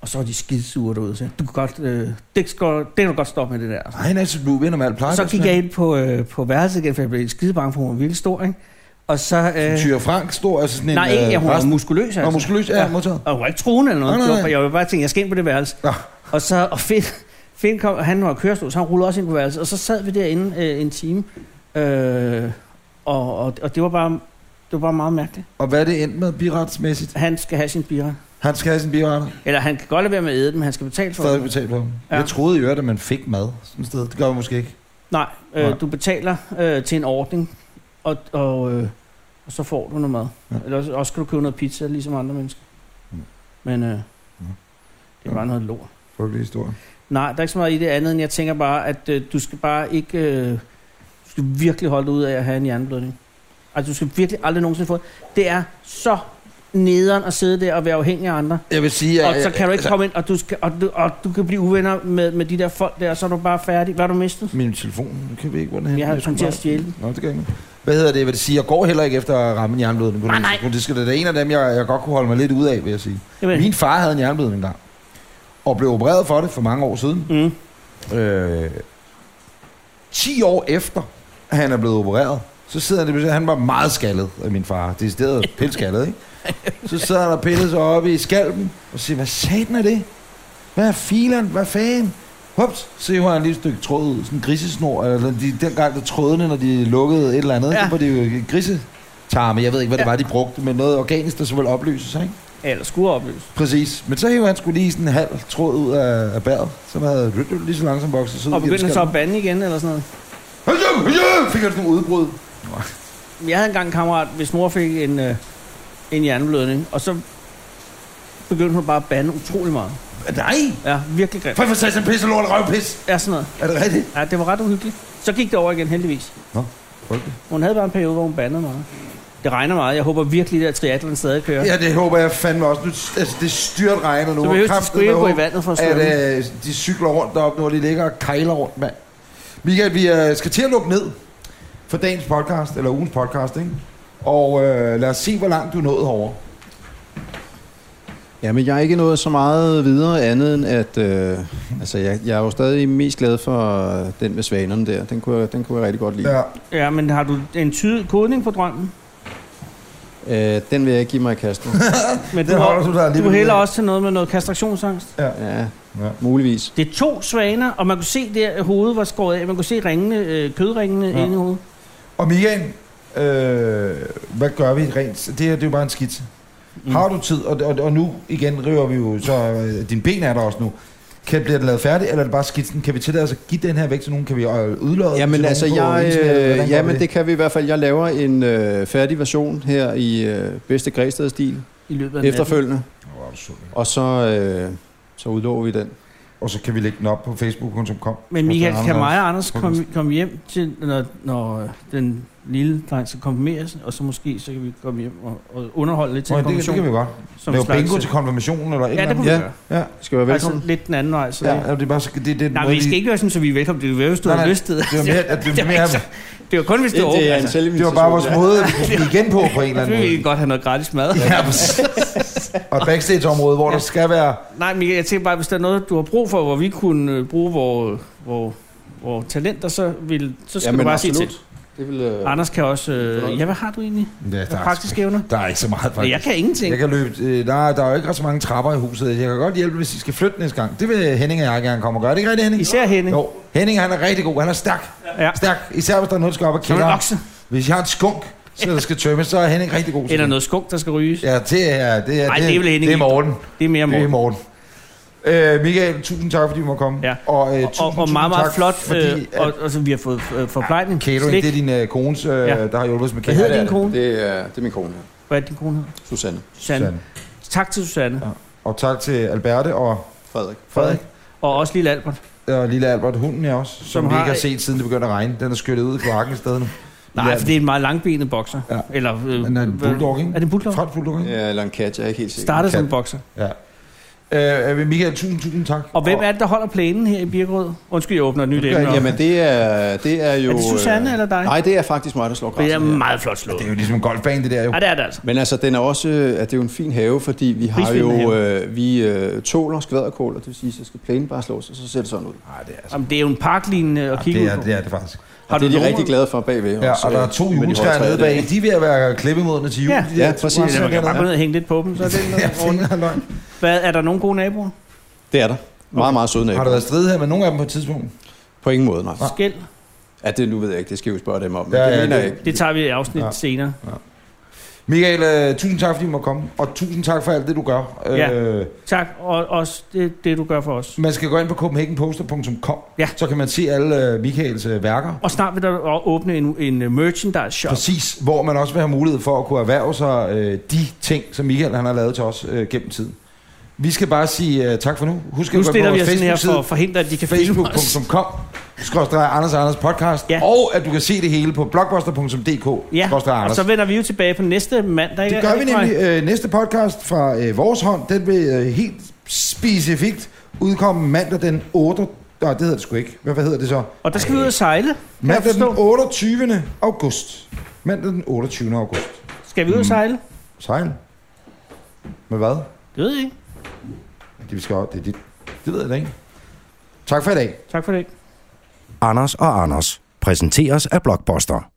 Og så var de skidesure derude, og sagde, du kan godt, øh, det, skal, det kan du godt stoppe med det der.
ej, Nasse, du vinder med alt pleje.
Og så gik jeg ind på, øh, på værelset igen, for jeg blev skide bange for, at hun var vildt stor, ikke? Og så... Øh,
Tyre Frank står altså sådan en...
Nej, ikke, ja, hun var
resten-
muskuløs, altså.
Nå, muskuløs, ja,
Ja.
modtaget.
Og hun var ikke truende eller noget.
Nej,
Nej,
nej,
nej,
nej.
Jeg var bare tænkt, jeg skal ind på det værelse.
Nå.
Og så, og Finn, Finn kom, og han var kørestol, så han rullede også ind på værelset. Og så sad vi derinde øh, en time. Øh, og, og, og, det var bare, det var bare meget mærkeligt.
Og hvad er det endt med biretsmæssigt?
Han skal have sin bira.
Han skal have sin biretter.
Eller han kan godt lade være med at æde den, men han skal betale for
Stadig
det.
betalt for dem.
Ja.
Jeg troede i øvrigt, at man fik mad sådan et sted. Det gør man måske ikke.
Nej, øh,
Nej.
du betaler øh, til en ordning, og, og, øh, og så får du noget mad. Ja.
Ja.
Eller også, også kan du købe noget pizza, ligesom andre mennesker.
Mm.
Men øh, det
Ja.
er bare noget lort.
Frygtelig historie.
Nej, der er ikke så meget i det andet, end jeg tænker bare, at øh, du skal bare ikke... Øh, du skal virkelig holde dig ud af at have en hjerneblødning. Altså, du skal virkelig aldrig nogensinde få... Det er så nederen at sidde der og være afhængig af andre.
Jeg vil sige,
Ja, altså- og så kan du ikke komme ind, og du, skal, og, du, og du kan blive uvenner med, med de der folk der, og så er du bare færdig. Hvad har du mistet?
altså, Min telefon, nu kan vi ikke, hvor den er.
Jeg har
henne.
kommet til at
skulle
stjæle
bare- Nå, det gør jeg ikke. Hvad hedder det? Jeg vil sige, jeg går heller ikke efter at ramme en jernblødning. på
Nej,
nogen
nej.
tidspunkt. Det skal da- det er en af dem, jeg, jeg godt kunne holde mig lidt ud af, vil jeg sige.
Jamen,
Min far havde en jernblødning engang. Og blev opereret for det for mange år siden.
mm,
Øh, 10 år efter, at han er blevet opereret, så sidder han, han var meget skaldet af min far. Det er stedet pilskaldet, ikke? Så sidder han og piller sig op i skalpen og siger, hvad satan er det? Hvad er filen? Hvad fanden? Hups, så hiver han lige et stykke tråd ud, sådan en grisesnor, eller de, dengang der trådene, når de lukkede et eller andet, ja.
Ja.
så var det jo grisetarme, jeg ved ikke, hvad det
Ja.
var, de brugte, men noget organisk, der så ville opløses, ikke?
eller skulle opløse.
Præcis. Men så hiver han skulle lige sådan en halv tråd ud af, af bæret, som havde lige så langsomt vokset sig ud.
Og
igennem
begyndte han så
skallen.
at bande igen, eller sådan noget.
Ja, fik han sådan en udbrud.
Jeg havde engang en kammerat, hvis mor fik en, øh, en hjerneblødning, og så begyndte hun bare at bande utrolig meget.
Nej!
Ja, virkelig grimt.
For for satan, pisse lort og røvpis.
Ja, sådan noget.
Er det rigtigt?
Ja, det var ret uhyggeligt. Så gik det over igen, heldigvis.
Frygteligt.
Hun havde bare en periode, hvor hun bandede meget. Det regner meget. Jeg håber virkelig, at triathlon stadig kører.
Ja, det håber jeg fandme også. Nu, altså, det styrt regner nu.
så
Og
behøver de
kraften
sgu ikke
med
gå i
håb,
vandet for at svømme. Det...
At øh, de cykler rundt deroppe nu, og de ligger og kejler rundt, mand. Michael, vi øh, skal til at lukke ned for dagens podcast, eller ugens podcast, ikke? Og øh, lad os se, hvor langt du er nået herovre.
Ja, men jeg er ikke nået så meget videre andet end, at øh, altså, jeg, jeg er jo stadig mest glad for øh, den med svanerne der. Den kunne, jeg- den kunne jeg rigtig godt lide.
Ja.
Ja, men har du en tydelig kodning på drømmen?
Øh, den vil jeg ikke give mig i kast med.
Men
Det
du,
holder du dig
du
alligevel
hælder
ud af.
også til noget med noget kastrationsangst.
ja,
Ja.
muligvis.
Det er to svaner, og man kunne se der, at hovedet var skåret af. Man kunne se ringene, øh, kødringene
Ja.
ja. inde i hovedet.
Og Michael, øh, hvad gør vi rent? Det her, det er jo bare en skitse. Mm. Har du tid, og, og, og nu igen river vi jo, så øh, dine ben er der også nu. Kan, bliver det lavet færdigt, eller er det bare skitsen? Kan vi tillade os at give den her væk til nogen? Kan vi øh, udlade den
Jamen
til
altså,
nogen på
jeg,
internettet? Hvordan gør
øh,
vi
jamen, det kan vi i hvert fald. Jeg laver en øh, færdig version her i øh, bedste Græsted-stil
I løbet af natten.
efterfølgende.
Åh, hvor er du sund, ikke?
Og så, øh, så udlover vi den.
Og så kan vi lægge den op på facebook.com.
Men Michael,
Hvorfor
kan
Anders?
mig og Anders
Hvorfor
komme, komme hjem til, når, når øh, den lille dreng skal konfirmeres, og så måske så kan vi komme hjem og, og underholde lidt til
Nå,
en
det, det, kan vi
konfirmation.
godt.
som
Lave
slags-
bingo til konfirmationen eller
Ja,
et eller
det kunne
andet.
vi
Ja.
gøre.
Ja,
I skal være velkommen.
Altså lidt den anden vej. Så
ja.
ja.
ja, det er bare så- det, det er den
Nej,
måde,
men vi skal ikke gøre sådan, så vi er velkommen. Det er jo, hvis du
Nej,
har
nej.
lyst til det.
Det var mere, at det,
Det
det,
er
mere,
ikke så- Det er jo kun, hvis det er åbent.
det er en
Altså.
det var bare vores
selvinvitation.
måde, vi igen på på en eller
Så vil
anden
vi
måde.
ikke godt have noget gratis mad.
Ja, præcis. Og et backstage-område, hvor der skal være...
Nej, Michael, jeg tænker bare, hvis der er noget, du har brug for, hvor vi kunne øh, bruge vores hvor, hvor talenter, så, vil, så skal du bare sige til.
Det vil, øh,
Anders kan også... Øh, ja, hvad har du egentlig?
Ja,
Der er praktiske evner?
Der er ikke så meget,
Nej,
faktisk.
jeg kan ingenting.
Jeg
Kan...
kan løbe... Øh, der, er- der er jo ikke ret så mange trapper i huset. Jeg kan godt hjælpe, hvis I skal flytte næste gang. Det vil Henning og jeg gerne komme og gøre. Er det ikke rigtigt, Henning?
Især Henning.
Jo, Henning han er rigtig god. Han er stærk.
Ja.
Stærk. Især hvis der er noget, der skal op og
Som en
kælder.
okse.
Hvis jeg har en skunk, så der skal tømmes, så er Henning rigtig god. til
Eller
det.
noget skunk, der skal ryges. Ja.
Ja, det er, det er,
Ej,
det,
det er vel Henning
det er Morten.
Det er mere
Det er
mål.
Morten. Øh, Michael, tusind tak, fordi du måtte komme.
Ja.
Og, øh,
Og, og meget, meget
tak,
flot,
Fordi,
fordi, øh, og, og, så vi har fået øh, forplejning.
catering,
Slik.
det er din øh, kones, øh,
Ja.
der har hjulpet os med
Hvad
catering.
hedder din kone?
Det er, det er min kone her,
Hvad er din kone? hedder?
Susanne
Susanne.
Sådan.
Tak til Susanne.
Ja. Og tak til Alberte og
Frederik.
Frederik.
Og også lille Albert.
Og lille Albert, hunden er også, som, som vi
har-
ikke har set, siden det begyndte at regne. Den er skyllet ud i kloakken i stedet. nu.
Nej,
Lille
for det er en meget langbenet bokser.
Ja.
Ja. Eller, øh,
Albert. Den er en
hvad-
bulldog,
Er
ikke?
det en bulldog?
Fransk bulldog, ikke?
Ja, eller en kat, jeg er ikke helt sikker.
Startede som
Kat.
en bokser.
Ja. Øh, Michael, tusind, tusind tak.
Og hvem er det, der holder planen her i Birkerød? Undskyld, jeg åbner et nyt
Det gør
emne.
ikke.
op.
Jamen, det er, det er jo...
Er det Susanne
øh,
eller dig?
Nej, det er faktisk mig, der slår
Det er
græsset. her.
meget flot slået.
Det er jo ligesom en golfbane, det der jo.
Ja, det er det altså.
Men altså, den er også, øh, at det er jo en fin have, fordi vi har
Prisvindende
jo, øh, vi øh, tåler skvaderkål, og det vil sige, så skal plænen bare slås, og så ser det sådan ud.
Nej, det er altså...
Jamen, det er jo en parklignende at kigge
Det er,
ud på.
det er det faktisk.
Har
det er
du
de
nogen-
rigtig glade for bagved.
Ja,
også,
og der er
øh,
to
med de høje
juletræer
træer
nede
der.
bag. De er ved at være klippemodne til jul.
Ja.
de der
Ja,
to
præcis.
træer
Ja, man kan bare gå
dernede.
ned og hænge lidt på dem, så er det
Ja, det er løgn.
Hvad, er der nogen gode naboer?
Det er der. Meget, meget søde
Har der
naboer.
været strid her med nogen af dem på et tidspunkt?
På ingen måde, nej.
Skæld?
Ja, det nu ved jeg ikke, det skal jeg jo spørge dem om. Men
Ja,
ja,
ja,
det mener
det-
jeg ikke.
Det tager vi i afsnit
Ja.
ja. senere.
Michael, øh, tusind tak, fordi du måtte komme. Og tusind tak for alt det, du gør.
Ja.
Øh,
Tak, og også det, det du gør for os.
man skal gå ind på copenhagenposter.com,
Ja.
så kan man se alle øh, Michaels øh, værker.
Og snart vil der o- åbne en, en øh, merchandise shop.
Præcis, hvor man også vil have mulighed for at kunne erhverve sig øh, de ting, som Michael han har lavet til os øh, gennem tiden. Vi skal bare sige øh, tak for nu. Husk
Nu
at gå ind på
stiller vi
vores
os sådan her for at
Facebook-side,
forhindre, at de kan filme os.
facebook.com, skrådstræk Anders og Anders podcast,
Ja.
og at du kan se det hele på blogbuster.dk,
Ja,
skrådstræk
og
Anders.
så vender vi jo tilbage på næste mandag. ikke?
Det gør
Er
vi
ikke
nemlig. Øh, næste podcast fra øh, vores hånd, den vil øh, helt specifikt udkomme mandag den 8. Nej, det hedder det sgu ikke. Hvad, hvad hedder det så?
korrekt? Og der skal vi ud og sejle. Kan jeg
Mandag den
forstå?
28. august. Mandag den 28. august.
Skal vi
Mm.
ud og sejle?
Sejl. Med hvad?
Det ved jeg ikke.
Det, vi skal, det, er dit. det ved jeg da ikke. Tak for i dag.
Tak for det.
Anders og Anders præsenteres af Blockbuster.